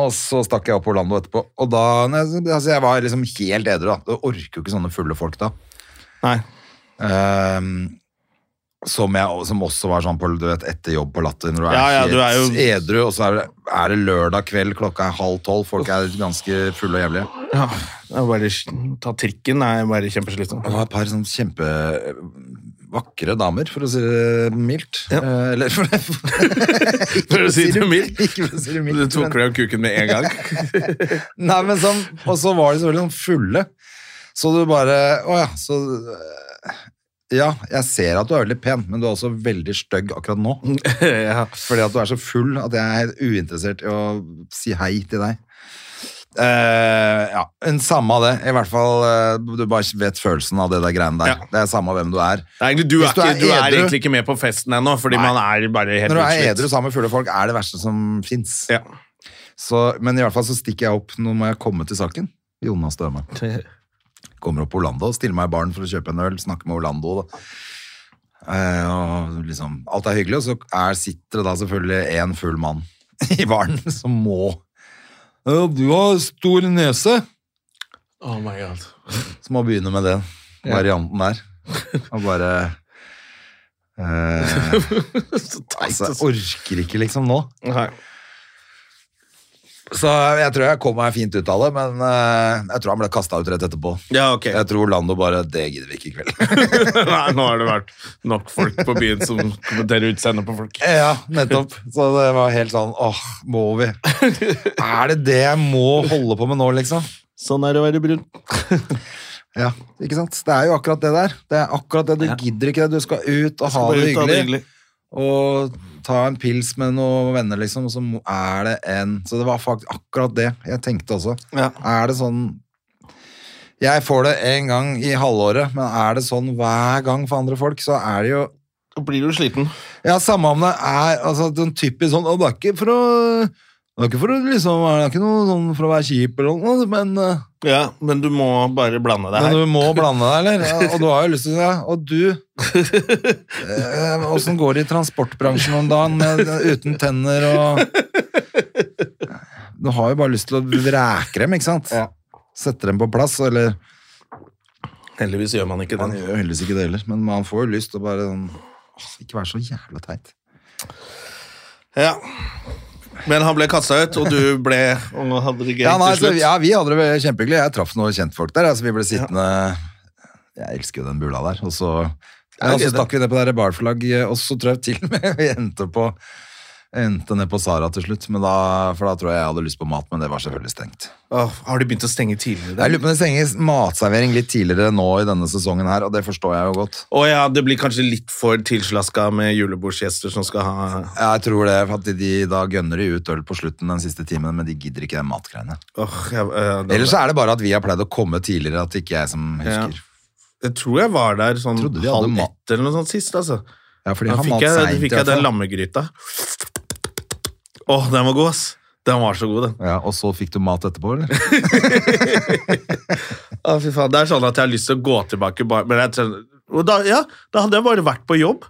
og så stakk jeg opp på Orlando etterpå, og da nei, altså, Jeg var liksom helt edru, da. Jeg orker jo ikke sånne fulle folk da. Nei. Eh, som, jeg, som også var sånn på, du vet, etter jobb på Latter, når du er Ja, ja, helt du er jo- edru, og så er det, er det lørdag kveld, klokka er halv tolv, folk er ganske fulle og jævlige. Ja, det er bare ta trikken er bare kjempeslitsomt. Og det var et par sånn kjempevakre damer, for å si det mildt. Eh, Eller for, For å si det mildt. Ikke for å si det Du mildt. tok men- deg av kuken med en gang. Nei, men sånn, og så var de selvfølgelig sånn fulle. Så du bare Å ja, så eh, Ja, jeg ser at du er veldig pen, men du er også veldig stygg akkurat nå. ja. Fordi at du er så full at jeg er helt uinteressert i å si hei til deg. Eh, ja, en samme av det. I hvert fall, eh, du bare vet følelsen av det der greiene der. Ja. Det er samme hvem du er. Det er egentlig, du, Hvis er ikke, du er edru- egentlig ikke med på festen ennå, fordi Nei. man er bare helt Når du er utslitt. edru sammen med fulle folk, er det verste som fins. Ja. Så- Men i hvert fall så stikker jeg opp. Nå må jeg komme til saken. Jonas Døhme. Kommer opp på Orlando, stiller meg i baren for å kjøpe en øl, snakker med Orlando. Da. Eh, og liksom, alt er hyggelig, og så er, sitter det da selvfølgelig en full mann i baren som må «Ja, Du har stor nese! Oh my god. Så må jeg begynne med den varianten der. Og bare eh, Så teit. altså, jeg Orker ikke liksom nå. Nei. Så jeg tror jeg kom meg fint ut av det, men eh, jeg tror han ble kasta ut rett etterpå. Ja, ok. Jeg tror Lando bare Det gidder vi ikke i kveld. Nei, nå har det vært nok folk på byen som kommenterer utseendet på folk. ja, nettopp. Så det var helt sånn Åh, må vi? Er det det jeg må holde på med nå, liksom? Sånn er det å være brun. Ja, ikke sant? Det er jo akkurat det der. Det er akkurat det. Du gidder ikke det. Du skal ut og ha Bare det ut av hyggelig. Og ta en pils med noen venner, liksom, og så mo- er det en Så det var faktisk akkurat det jeg tenkte også. Ja. Er det sånn Jeg får det en gang i halvåret, men er det sånn hver gang for andre folk, så er det jo Da blir du sliten. Ja, samme om det er altså, den typisk sånn «Å, Det er ikke for å det er ikke for å liksom, det er ikke noe sånn for å være kjip, eller noe, men, eh, Ja, men du må bare blande det men her. du må blande deg, eller? Ja, og du har jo lyst til å si ja, Og du eh, Åssen går det i transportbransjen om dagen med, eh, uten tenner og Du har jo bare lyst til å vreke dem, ikke sant? Sette dem på plass, eller Heldigvis gjør man ikke Man det. gjør jo heldigvis ikke det heller, men man får jo lyst til å bare sånn «Åh, Ikke være så jævla teit. Ja. Men han ble kasta ut, og du ble og hadde det gøy Ja, nei, til altså, slutt. ja, vi hadde det veldig kjempehyggelig. Jeg traff noen kjentfolk der. Altså, vi ble sittende Jeg elsker jo den bula der. Og så, ja, og så det- stakk vi ned på det der barflagget, og så tror jeg til og med vi endte på Endte ned på Sara til slutt, men da, for da tror jeg jeg hadde lyst på mat, men det var selvfølgelig stengt. Åh, har de begynt å stenge tidligere? Jeg lurer på om det stenger matservering litt tidligere nå i denne sesongen her, og det forstår jeg jo godt. Å ja, det blir kanskje litt for tilslaska med julebordsgjester som skal ha Jeg tror det, for at de, da gønner de ut øl på slutten den siste timen, men de gidder ikke den matgreiene. Åh, jeg, eh, det- Ellers så er det bare at vi har pleid å komme tidligere, at det ikke er jeg som husker. Jeg tror jeg var der sånn Trodde vi hadde halv mat. ett eller noe sånt sist, altså. Ja, fordi Da han fikk malt jeg, da seint i fikk hvert jeg den fall. lammegryta. Åh, den var god, ass. Den var så god, den. Ja, og så fikk du mat etterpå, eller? Å, fy faen. Det er sånn at jeg har lyst til å gå tilbake, bare- men jeg trenger- og da, ja, da hadde jeg bare vært på jobb,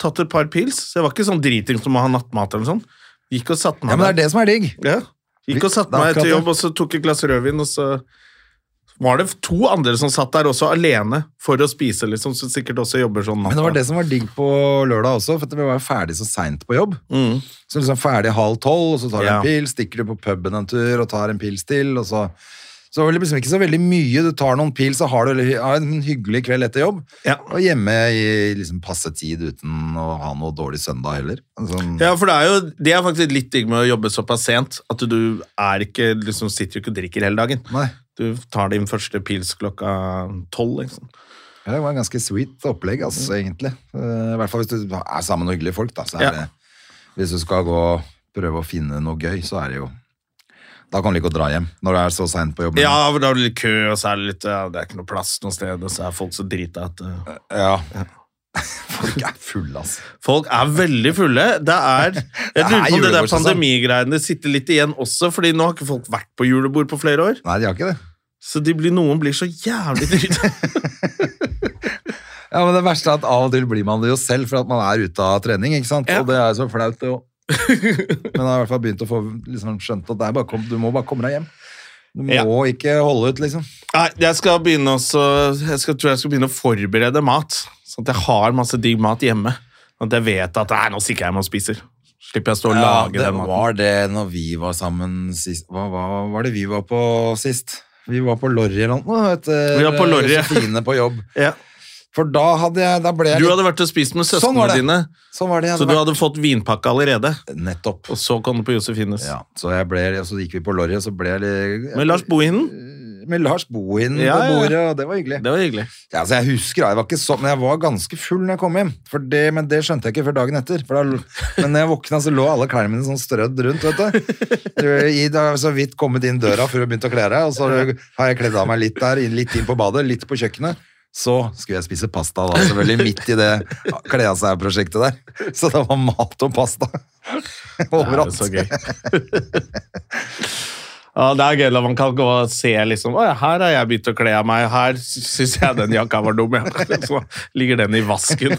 tatt et par pils, så jeg var ikke sånn driting som å ha nattmat eller noe sånt. Gikk og satt meg Ja, men det er det som er digg. Ja. Gikk og satte Det er meg akkurat til det. jobb, og så tok et glass rødvin, og så var det to andre som satt der også alene for å spise, liksom, som sikkert også jobber sånn Men det var det som var digg på lørdag også, for at vi var jo ferdig så seint på jobb. Mm. Så liksom ferdig halv tolv, og så tar du Ja. en pils, stikker du på puben en tur og tar en pils til, og så Så var det liksom ikke så veldig mye. Du tar noen pils, så har du har en hyggelig kveld etter jobb. Ja. Og hjemme i liksom passe tid uten å ha noe dårlig søndag heller. Sånn, Ja, for det er jo det er faktisk litt digg med å jobbe såpass sent, at du er ikke, liksom, sitter jo ikke og drikker hele dagen. Nei. Du tar din første pils klokka tolv, liksom. Ja, Det var en ganske sweet opplegg, Mm. altså, egentlig. Eh, I hvert fall hvis du er sammen med hyggelige folk, da. Så er Ja. det, hvis du skal gå og prøve å finne noe gøy, så er det jo Da kan du ikke å dra hjem når du er så seint på jobb. Ja, for da er det litt kø, og så er det litt ja, Det er ikke noe plass noe sted, og så er folk så drita at eh, Ja. Folk er fulle, altså. Folk er veldig fulle. Det er Jeg Det er lurer på om det der julebord, sånn. pandemigreiene sitter litt igjen også, fordi nå har ikke folk vært på julebord på flere år. Nei, de har ikke det. Så de blir, noen blir så jævlig drita. Ja, men Det verste er at av og til blir man det jo selv, for at man er ute av trening. ikke sant? Ja. Og det er jo så flaut, det òg. Men jeg har i hvert fall begynt å få liksom, skjønt at det er bare, kom, du må bare komme deg hjem. Du må Ja. ikke holde ut, liksom. Nei, jeg skal begynne også Jeg skal, tror jeg skal begynne å forberede mat, sånn at jeg har masse digg mat hjemme. Sånn at jeg vet at nei, nå stikker jeg hjem og spiser. Slipper jeg å stå og lage det den maten. var det når vi var sammen sist. Hva, hva var det vi var på sist? Vi var på Lorry eller noe. etter Vi var på Lorry, ja. Josefine på jobb. Ja. For da hadde jeg Da ble jeg Du litt- hadde vært og spist med Sånn var søsknene det. dine, Sånn var det. jeg så du vært- hadde fått vinpakke allerede. Nettopp. Og så kom du på Josefines. Ja, så, jeg ble, så gikk vi på Lorry, og så ble jeg litt Med Lars Bohinen. med Lars Bohin Ja, ja, på ja. bordet, og det var hyggelig. Det var hyggelig. Ja, altså jeg husker, da, jeg var ikke sånn, men jeg var ganske full når jeg kom hjem, for det, men det skjønte jeg ikke før dagen etter. For da, men når jeg våkna, så lå alle klærne mine sånn strødd rundt, vet du. I, da har jeg så vidt kommet inn døra før jeg begynte å kle deg, og så har jeg kledd av meg litt der, litt inn på badet, litt på kjøkkenet. Så skulle jeg spise pasta da, selvfølgelig midt i det kle av seg-prosjektet der. Så det var mat og pasta overalt. Det er jo så gøy. ja, det er gøy når man kan gå og se liksom Å ja, her har jeg begynt å kle av meg. Her syns jeg den jakka var dum, ja. Så ligger den i vasken.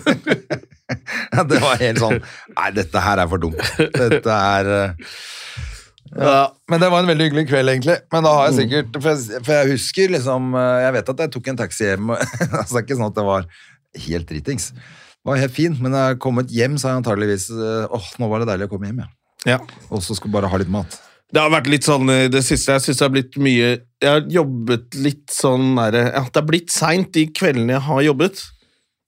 Ja, Det var helt sånn, nei, dette her er for dumt. Dette er... eh, ja. Men det var en veldig hyggelig kveld, egentlig. Men da har jeg sikkert For jeg, for jeg husker liksom eh, Jeg vet at jeg tok en taxi hjem. og- altså, det er ikke sånn at det var helt dritings. Det var helt fint, men når jeg har kommet hjem, så har jeg antageligvis eh, Åh, nå var det deilig å komme hjem, ja. ja. Og så skulle jeg bare ha litt mat. Det har vært litt sånn i det siste. Jeg synes det har blitt mye Jeg har jobbet litt sånn der, ja, Det har blitt seint de kveldene jeg har jobbet.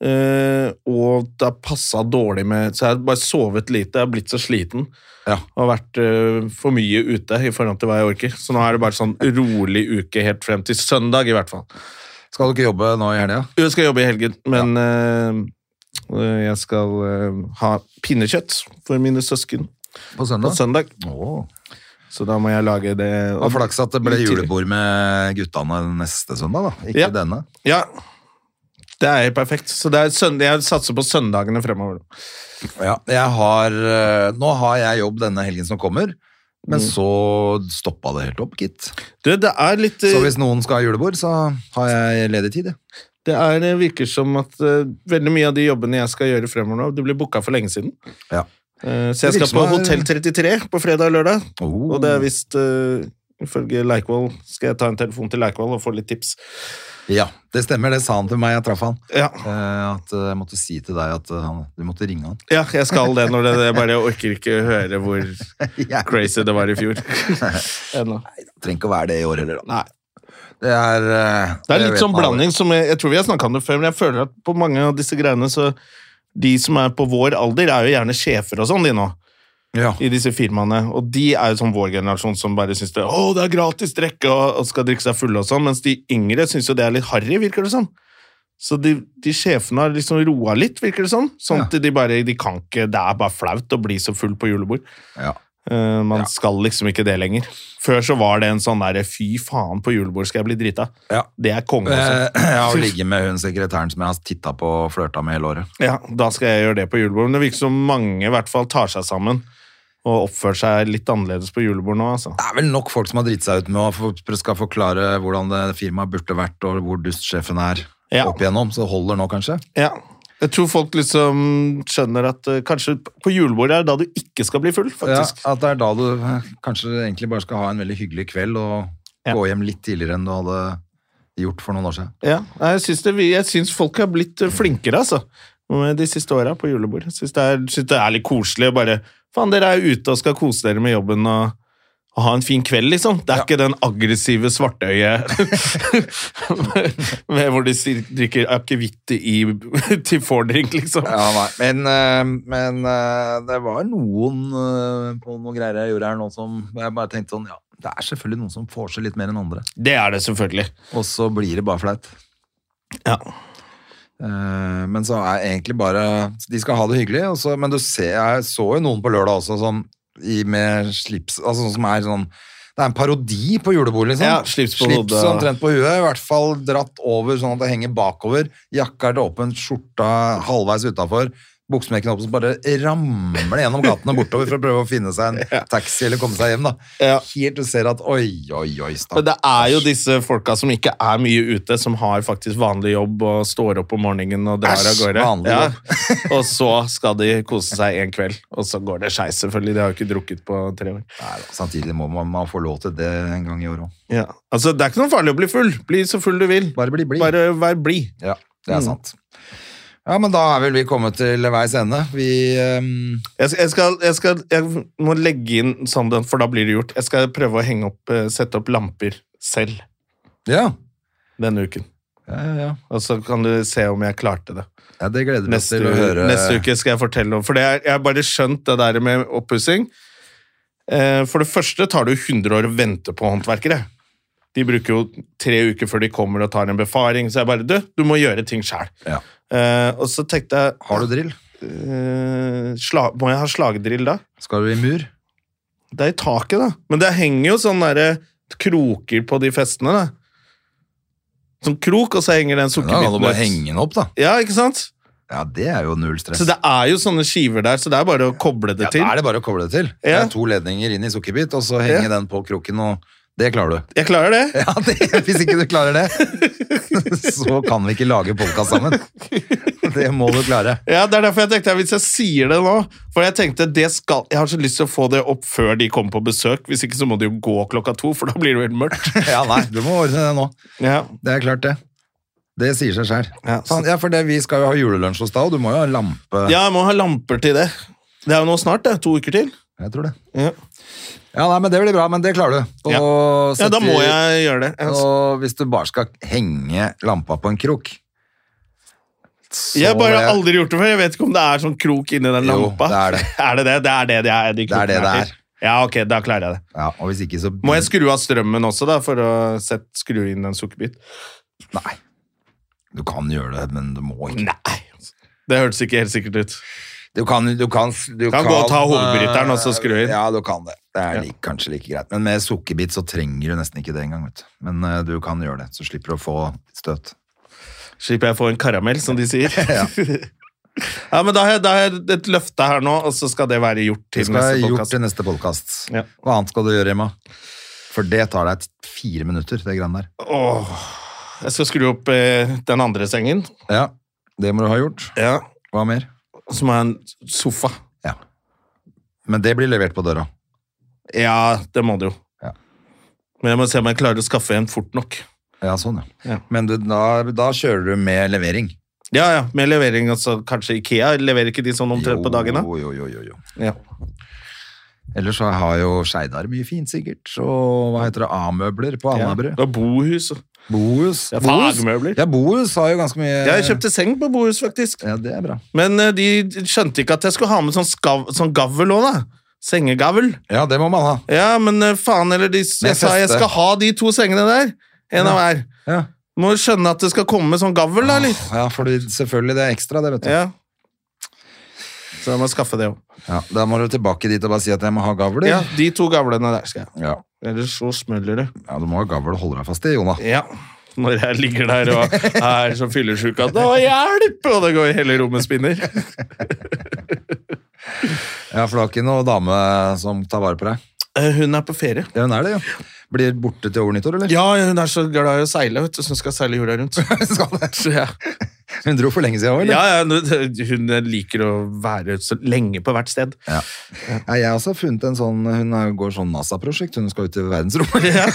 Eh, og det har passa dårlig med Så jeg har bare sovet lite. Jeg har blitt så sliten. Ja. Og har vært eh, for mye ute i forhold til hva jeg orker. Så nå er det bare sånn rolig uke helt frem til søndag, i hvert fall. Skal du ikke jobbe nå i helga? Jo, Jeg skal jobbe i helgen, men eh, eh, jeg skal eh, ha pinnekjøtt for mine søsken På på søndag? søndag. Åh. Så da må jeg lage det. Det var flaks at det ble Litt tidlig. julebord med guttene neste søndag, da. Ikke Ja. denne. Ja, det er helt perfekt. Så det er sønd- jeg satser på søndagene fremover. Ja, jeg har eh, Nå har jeg jobb denne helgen som kommer, Mm. men så stoppa det helt opp, gitt. Du, det er litt Så eh, hvis noen skal ha julebord, så har jeg ledig tid, jeg. Det er, eh, virker som at eh, veldig mye av de jobbene jeg skal gjøre fremover nå, det ble booka for lenge siden. Ja. Eh, så Det jeg virker skal på som det er- Hotell 33 på fredag og lørdag, Oh. og det er visst eh, Ifølge Leikvoll skal jeg ta en telefon til Leikvoll og få litt tips. Ja, det stemmer. Det sa han til meg. Jeg traff han. Ja, Eh, at eh, jeg måtte si til deg at eh, han, du måtte ringe han. ja jeg skal det når det Jeg bare orker ikke høre hvor Jeg crazy det var i fjor. Ennå. trenger ikke å være det i år heller, da. Nei. Det er, eh, Det er jeg litt vet sånn hva det- blanding som jeg, jeg tror vi har snakka om det før, men jeg føler at på mange av disse greiene så De som er på vår alder, er jo gjerne sjefer og sånn, de nå, Ja. i disse firmaene. Og de er jo sånn vår generasjon som bare syns det, «Å, det er gratis drikke og, og skal drikke seg fulle og sånn, mens de yngre syns jo det er litt harry, virker det som. Så de, de sjefene har liksom roa litt, virker det som. Sånn Ja. at de bare de kan ikke, Det er bare flaut å bli så full på julebord. ja. Eh, man Ja. skal liksom ikke det lenger. Før så var det en sånn derre fy faen, på julebord skal jeg bli drita. Ja. Det er konge, Eh, altså. Jeg har ligget med hun sekretæren som jeg har titta på og flørta med hele året. Ja, da skal jeg gjøre det på julebord. Men det virker som mange i hvert fall tar seg sammen og oppfører seg litt annerledes på julebord nå, altså. Det er vel nok folk som har driti seg ut med å få- skal forklare hvordan det firmaet burde vært, og hvor dustsjefen er Ja. opp igjennom. Så det holder nå, kanskje. Ja. Jeg tror folk liksom skjønner at eh, kanskje på julebordet er det da du ikke skal bli full, faktisk. Ja, at det er da du eh, kanskje egentlig bare skal ha en veldig hyggelig kveld og Ja. gå hjem litt tidligere enn du hadde gjort for noen år siden. Ja, nei, jeg syns, det, jeg syns folk har blitt eh, flinkere, altså. med De siste åra på julebord. Jeg syns det, er- syns det er litt koselig å bare Faen, dere er ute og skal kose dere med jobben og, og ha en fin kveld, liksom. Det er ikke den aggressive svartøyet med, hvor de sier- drikker akevitt i til fordrink, liksom. Ja, nei. Men, eh, men eh, det var noen eh, på noen greier jeg gjorde her nå som jeg bare tenkte sånn, ja, det er selvfølgelig noen som får seg litt mer enn andre. Det er det selvfølgelig. Og så blir det bare flaut. Ja. Eh, Men så er egentlig bare De skal ha det hyggelig, og så- men du ser, jeg så jo noen på lørdag også som i, med slips altså, som er sånn Det er en parodi på julebord, liksom. Ja, slips på hodet. omtrent på huet, i hvert fall dratt over sånn at det henger bakover. Jakka er til åpen, skjorta halvveis utafor. Buksmekken åpen, så bare ramler det gjennom gatene bortover for å prøve å finne seg en taxi eller komme seg hjem. da. Ja. Helt du ser at oi, oi, oi, Men stakkars. det er jo disse folka som ikke er mye ute, som har faktisk vanlig jobb og står opp om morgenen og drar Æsj, av gårde. vanlig og så skal de kose seg en kveld, og så går det skeis, selvfølgelig. De har jo ikke drukket på tre år. Nei, da, altså. samtidig må man, man få lov til det en gang i året òg. Ja. Altså, det er ikke noe farlig å bli full. Bli så full du vil. Bare bli blid. Bare vær blid. Ja, det er sant. Ja, men da er vel vi kommet til veis ende. Vi ehm, Jeg, skal- jeg, skal, jeg, skal, jeg må legge inn sånn, den, for da blir det gjort. Jeg skal prøve å henge opp, eh, sette opp lamper selv Ja. denne uken. Ja, ja, ja. Og så kan du se om jeg klarte det. ja det gleder vi oss Neste, til å høre. neste uke skal jeg fortelle om For det er, jeg har bare skjønt det der med oppussing. Eh, For det første tar det jo 100 år å vente på håndverkere. De bruker jo tre uker før de kommer og tar en befaring. Så jeg bare Du, du må gjøre ting sjæl. Ja. og så tenkte jeg Har du drill? eh, sla, Må jeg ha slagdrill da? Skal du i mur? Det er i taket, da. Men det henger jo sånne der, eh, kroker på de festene. da. Som krok, og så henger Ja, Da kan den du sukkerbiten bare henge den opp, da. Ja, ikke sant? Ja, det er jo null stress. Så det er jo sånne skiver der, så det er bare å koble det ja, til. da er det bare å koble det til. Det Ja. er to ledninger inn i sukkerbit, og så henge den på kroken, og det klarer du. Jeg klarer det. Ja, det, Hvis ikke du klarer det, så kan vi ikke lage podkast sammen. Det må du klare. Ja, Det er derfor jeg tenkte at hvis jeg sier det nå For jeg tenkte det skal Jeg har så lyst til å få det opp før de kommer på besøk. Hvis ikke så må de jo gå klokka to, for da blir det jo helt mørkt. Ja, nei, du må ordne det nå. Ja, Det er klart, det. Det sier seg sjøl. Ja, så- Ja, for det, vi skal jo ha julelunsj hos deg, og du må jo ha lampe. ja jeg må ha lamper til det. Det er jo nå snart, det. To uker til. Jeg tror det. Ja, Ja, nei, men Det blir bra, men det klarer du. Og Ja. ja da setter- må jeg gjøre det. Jeg- Og hvis du bare skal henge lampa på en krok så Jeg bare har jeg- aldri gjort det før. Jeg vet ikke om det er sånn krok inni den Jo, lampa. det er det. Er det det? Det er det det er. De Det er Mm. det krokene det til. Ja, ok, da klarer jeg det. Ja, og hvis ikke, så Må jeg skru av strømmen også, da, for å sette, skru inn en sukkerbit? Nei. Du kan gjøre det, men du må ikke. Nei. Det hørtes ikke helt sikkert ut. Du kan Du kan, du Kan gå og ta hovedbryteren og så skru inn. Ja, du kan det. Det er like, kanskje like greit. Men med sukkerbit så trenger du nesten ikke det engang, vet du. Men eh, du kan gjøre det, så slipper du å få støt. Slipper jeg å få en karamell, som de sier. ja. men da har, jeg, da har jeg et løfte her nå, og så skal det være gjort Det til skal jeg neste ha gjort podcast. til neste podkast. Ja. Hva annet skal du gjøre, Emma? For det tar deg fire minutter, det greiene der. Åh, jeg skal skru opp eh, den andre sengen. Ja, det må du ha gjort. Ja. Hva mer? Og så må jeg ha en sofa. Ja. Men det blir levert på døra. Ja, det må det jo. Ja. Men jeg må se om jeg klarer å skaffe en fort nok. Ja, sånn, ja. Ja. Men du, da, da kjører du med levering. Ja, ja, med levering, altså kanskje Ikea. Leverer ikke de sånn omtrent på dagen, da? Jo, jo, jo, jo, jo. Ja. Ellers så har jo Skeidar mye fint, sikkert. Og hva heter det, A-møbler på Ja. Alnabru. Og bohus. og- Bohus. Ja, Bohus- fagmøbler. Ja, Bohus har jo ganske mye Ja, Jeg kjøpte seng på bohus, faktisk. Ja, det er bra. Men eh, de skjønte ikke at jeg skulle ha med sånn, skav, sånn gavl òg, da. Sengegavl. Ja, det må man ha. Ja, men eh, faen eller de, Jeg sa jeg feste. skal ha de to sengene der. En av hver. Ja, Må jo skjønne at det skal komme sånn gavl, da, eller? ja for selvfølgelig, det er ekstra, det, vet du. Ja. Ja. Så jeg må skaffe det òg. da må du tilbake dit og bare si at jeg må ha gavler. Ja, de to gavlene der skal jeg ha. ja. Ellers så smeller det. Ja, du må ha gavl og holde deg fast i, Jona. Ja. Når jeg ligger der og er så fyllesyk at 'Å, hjelp!' Og det går hele rommet spinner. Ja, for du har ikke noe dame som tar vare på deg. Eh, Hun er på ferie. Ja, hun er det, jo. Blir borte til over nyttår, eller? Ja, hun er så glad i å seile, vet du, så hun skal seile jorda rundt. Skal det. Så ja. Hun dro for lenge siden òg, eller? Ja, ja, hun liker å være så lenge på hvert sted. Nei, jeg har også funnet en sånn Hun er- går sånn NASA-prosjekt, hun skal ut i verdensrommet. Ja,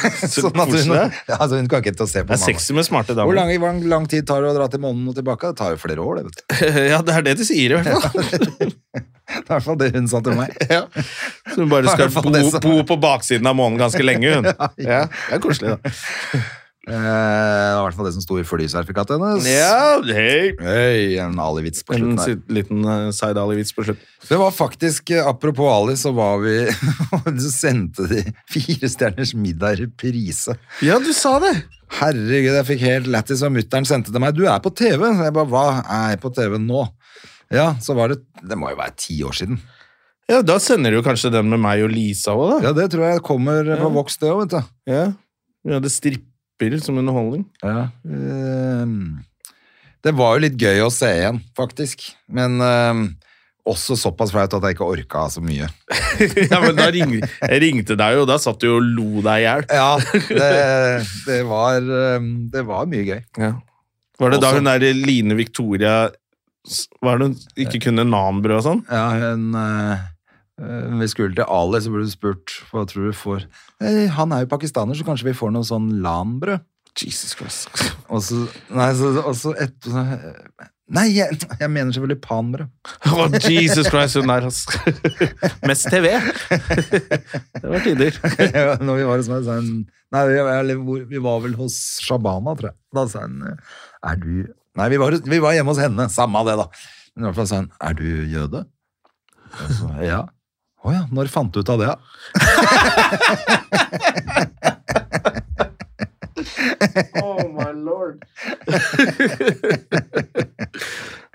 så sånn at hun, koselig. ja, så hun kan ikke til å se på Det er månen. sexy med smarte Hvor damer. lang, hvor lang- lang tid tar det å dra til månen og tilbake? Det tar jo flere år, det, vet du. Ja, det er det de sier, i hvert fall. Det er i hvert fall det hun sa til meg. Ja. Så hun bare I skal hvert fall bo, det som- bo på baksiden av månen ganske lenge, hun. Ja, det er koselig, da. Eh, det var i hvert fall det som sto i flysertifikatet hennes. Ja, hei. Hei, en alivits på En slutten der. sit- liten uh, Seidali-vits på slutten. Det var faktisk, eh, apropos Ali, så var vi Så sendte de Fire stjerners middag i reprise. Ja, du sa det! Herregud, jeg fikk helt lættis, og mutter'n sendte til meg 'Du er på TV'. Jeg bare 'Hva er jeg på TV nå?' Ja, så var det Det må jo være ti år siden. Ja, da sender du kanskje den med meg og Lisa òg, da. Ja, det tror jeg kommer på Vox, det òg, vet du. Ja. Vi hadde stripper som underholdning. Ja. ehm, Det var jo litt gøy å se igjen, faktisk. Men ehm, også såpass flaut at jeg ikke orka så mye. ja, men da ring, jeg ringte deg jo, og da satt du og lo deg i hjel. Ja, det, det, var, ehm, det var mye gøy. Var det da Også- hun der Line Victoria s- Var det hun ikke kunne nanbrød og sånn? Ja, hun eh, eh, vi skulle til Ali, så ble du spurt hva tror du får. Eh, han er jo pakistaner, så kanskje vi får noe sånn lanbrød. Jesus Christ. Og så, nei, så, og så et, Nei, jeg, jeg mener selvfølgelig panbrød. Å, Jesus Christ, hun der, ass. Mest TV. det var tider. Når vi var hos meg, sa hun Nei, vi, eller hvor- vi var vel hos Shabana, tror jeg. Da sa hun eh, Er du Nei, vi var, vi var hjemme hos henne. Samme av det, da. Men i hvert fall sa hun Er du jøde? Og så, ja. Å ja. Når fant du ut av det, da? Oh my lord.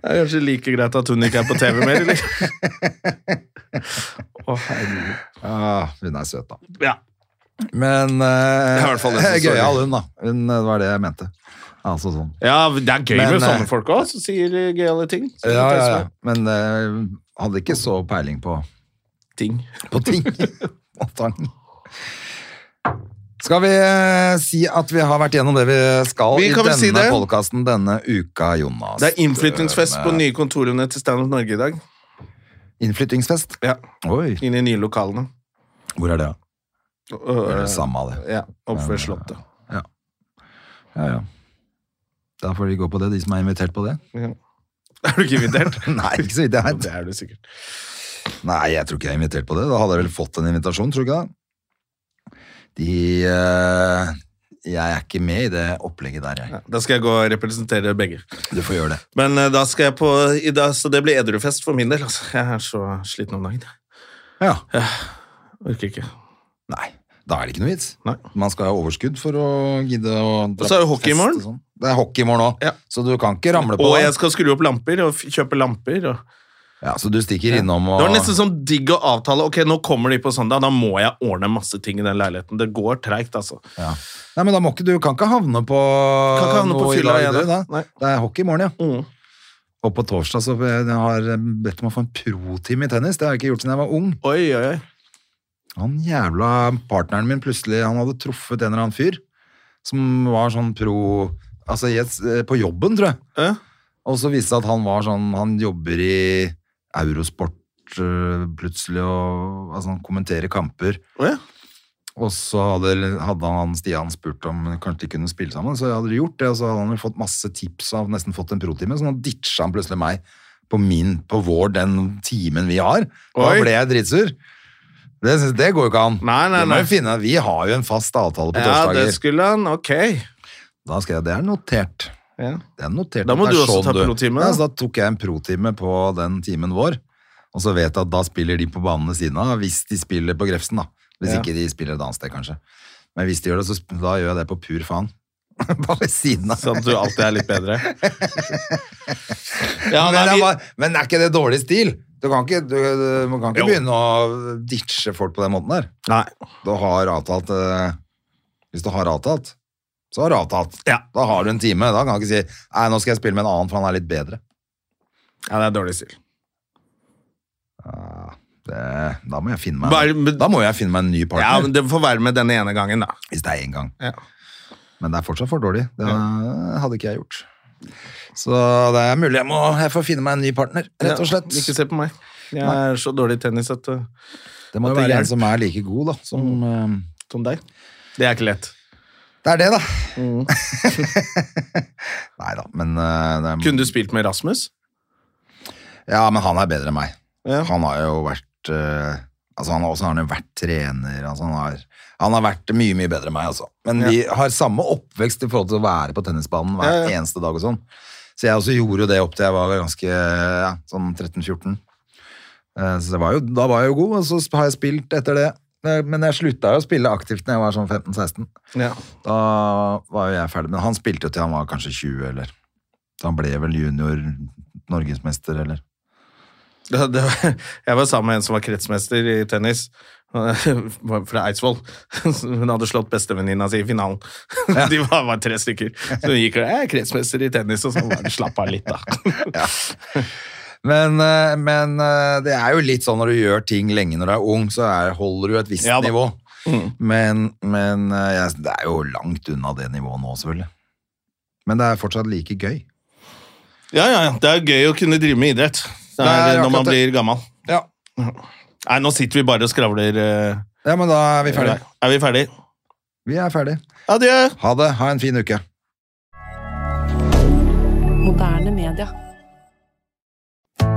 det er kanskje like greit at hun ikke er på TV mer, eller? Å, herregud. Ja, hun er søt, da. Ja. Men eh, Det er i hvert fall det som står Gøyal, hun, da. Hun, det var det jeg mente. Altså sånn. ja, det er gøy Men, med eh, sånne folk òg, som sier eh, gøyale ting. Så Ja, det ja, er ja. sånn Men eh, hadde ikke så peiling på, Ting. på ting og tang. Skal vi eh, si at vi har vært gjennom det vi skal Vi i kan vel denne si det. podkasten denne uka, Jonas? Det er innflyttingsfest på nye kontorene til Stand Up Norge i dag. Innflyttingsfest? Ja, Oi, Inn i nye lokalene. hvor er det? da? Det er Øh, det samme av det. Ja, Oppe ved Slottet. Ja, ja. Da får de gå på det, de som er invitert på det. Ja. Er du ikke invitert? Nei, ikke så vidt jeg Jo, vet. Det er du sikkert. Nei, jeg tror ikke jeg er invitert på det. Da hadde jeg vel fått en invitasjon, tror du ikke det? De eh, Jeg er ikke med i det opplegget der, jeg. Ja, da skal jeg gå og representere begge. Du får gjøre det. Men eh, da skal jeg på i dag, Så det blir edrufest for min del. Altså. Jeg er så sliten om dagen. Ja. Orker ikke. Nei, da er det ikke noe vits. Nei. Man skal ha overskudd for å gidde å dra Og så er det på hockey i fest morgen. og sånn. Det er hockey i morgen òg, Ja. så du kan ikke ramle på Og det. jeg skal skru opp lamper og f- kjøpe lamper. Og... Ja, så du stikker innom og Det var nesten sånn digg å avtale. Ok, nå kommer de på søndag. Da må jeg ordne masse ting i den leiligheten. Det går treigt, altså. ja. Nei, men da må ikke du kan ikke havne på Kan ikke havne på noe i fylla dag, igjen, Ah, du, da. da. Nei. Det er hockey i morgen, ja. Mm. Og på torsdag så jeg har jeg bedt om å få en pro-time i tennis. Det har jeg ikke gjort siden jeg var ung. Oi, oi, oi. Han jævla partneren min plutselig, han hadde truffet en eller annen fyr som var sånn pro Altså i et- eh, på jobben, tror jeg. Ja. Og så viste det seg at han var sånn Han jobber i Eurosport eh, plutselig, og altså han kommenterer kamper. Å, ja. Og så hadde, hadde han Stian spurt om kanskje de kunne spille sammen, så jeg hadde gjort det, og så hadde han vel fått masse tips og nesten fått en pro-time, så nå ditcha han plutselig meg på min, på vår, den timen vi har. Da Oi. ble jeg dritsur. Det, synes- det går jo ikke an. Nei, nei, Det må nei. vi finne. Vi har jo en fast avtale på Ja, torsdager. det skulle han. Ok. Da skrev jeg det er notert. Ja. Det er notert. Da må at det er sånn du også ta protime, da. Ja, så da tok jeg en protime på den timen vår, og så vet jeg at da spiller de på banen ved siden av, hvis de spiller på Grefsen, da. Hvis Ja. ikke de spiller et annet sted, kanskje. Men hvis de gjør det, så sp- da gjør jeg det på pur faen. Bare ved siden av. Sånn at du alltid er litt bedre. Ja, men, nei, det er vi, bare, men er ikke det dårlig stil? Du kan ikke, du, du- man kan ikke Jo. begynne å ditche folk på den måten der. nei. Du har avtalt eh, Hvis du har avtalt, så har du avtalt. Ja. Da har du en time. Da kan du ikke si Nei, nå skal jeg spille med en annen, for han er litt bedre. ja, det er dårlig stil. Ja, det, da, må jeg finne meg, Bare- men- da må jeg finne meg en ny partner. Ja, men Det får være med denne ene gangen, da. Hvis det er én gang. Ja. Men det er fortsatt for dårlig. Det hadde ikke jeg gjort. Så det er mulig jeg må jeg får finne meg en ny partner, rett og slett. Ja, ikke se på meg. Jeg er så dårlig i tennis at, uh, Det må jo at det Mm. være hjelper. en som er like god, da. Som, eh, som deg. Det er ikke lett. det er det, da. Mm. Nei da, men eh, det er, Kunne du spilt med Rasmus? Ja, men han er bedre enn meg. Ja. Han har jo vært eh, Altså, han har også han har vært trener. Altså han, har, han har vært mye, mye bedre enn meg, altså. Men vi har samme oppvekst i forhold til å være på tennisbanen hver Ja, ja. eneste dag og sånn. Så jeg også gjorde jo det opp til jeg var ganske ja, sånn 13-14. Eh, Så det var jo, da var jeg jo god, og så sp- har jeg spilt etter det. Eh, Men jeg slutta jo å spille aktivt når jeg var sånn 15-16. Ja. Da var jo jeg ferdig. Men han spilte jo til han var kanskje 20, eller Så han ble vel junior norgesmester, eller Det, det, var- jeg var sammen med en som var kretsmester i tennis, var fra Eidsvoll. Hun hadde slått bestevenninna si i finalen. De var bare tre stykker. Så hun gikk og jeg er kretsmester i tennis, og så bare slapp av litt, da. Men, eh, men eh, det er jo litt sånn når du gjør ting lenge når du er ung, så er, holder du et visst Ja da. nivå. Men, men eh, jeg, det er jo langt unna det nivået nå, selvfølgelig. Men det er fortsatt like gøy. Ja, ja, ja. Det er gøy å kunne drive med idrett det Det er, er når akkurat man det. blir gammel. Ja, Nei, nå sitter vi bare og skravler. eh, ja men da er vi ferdige. Er vi ferdige? Vi er ferdige. Adjø! Ha det. Ha en fin uke. Moderne media.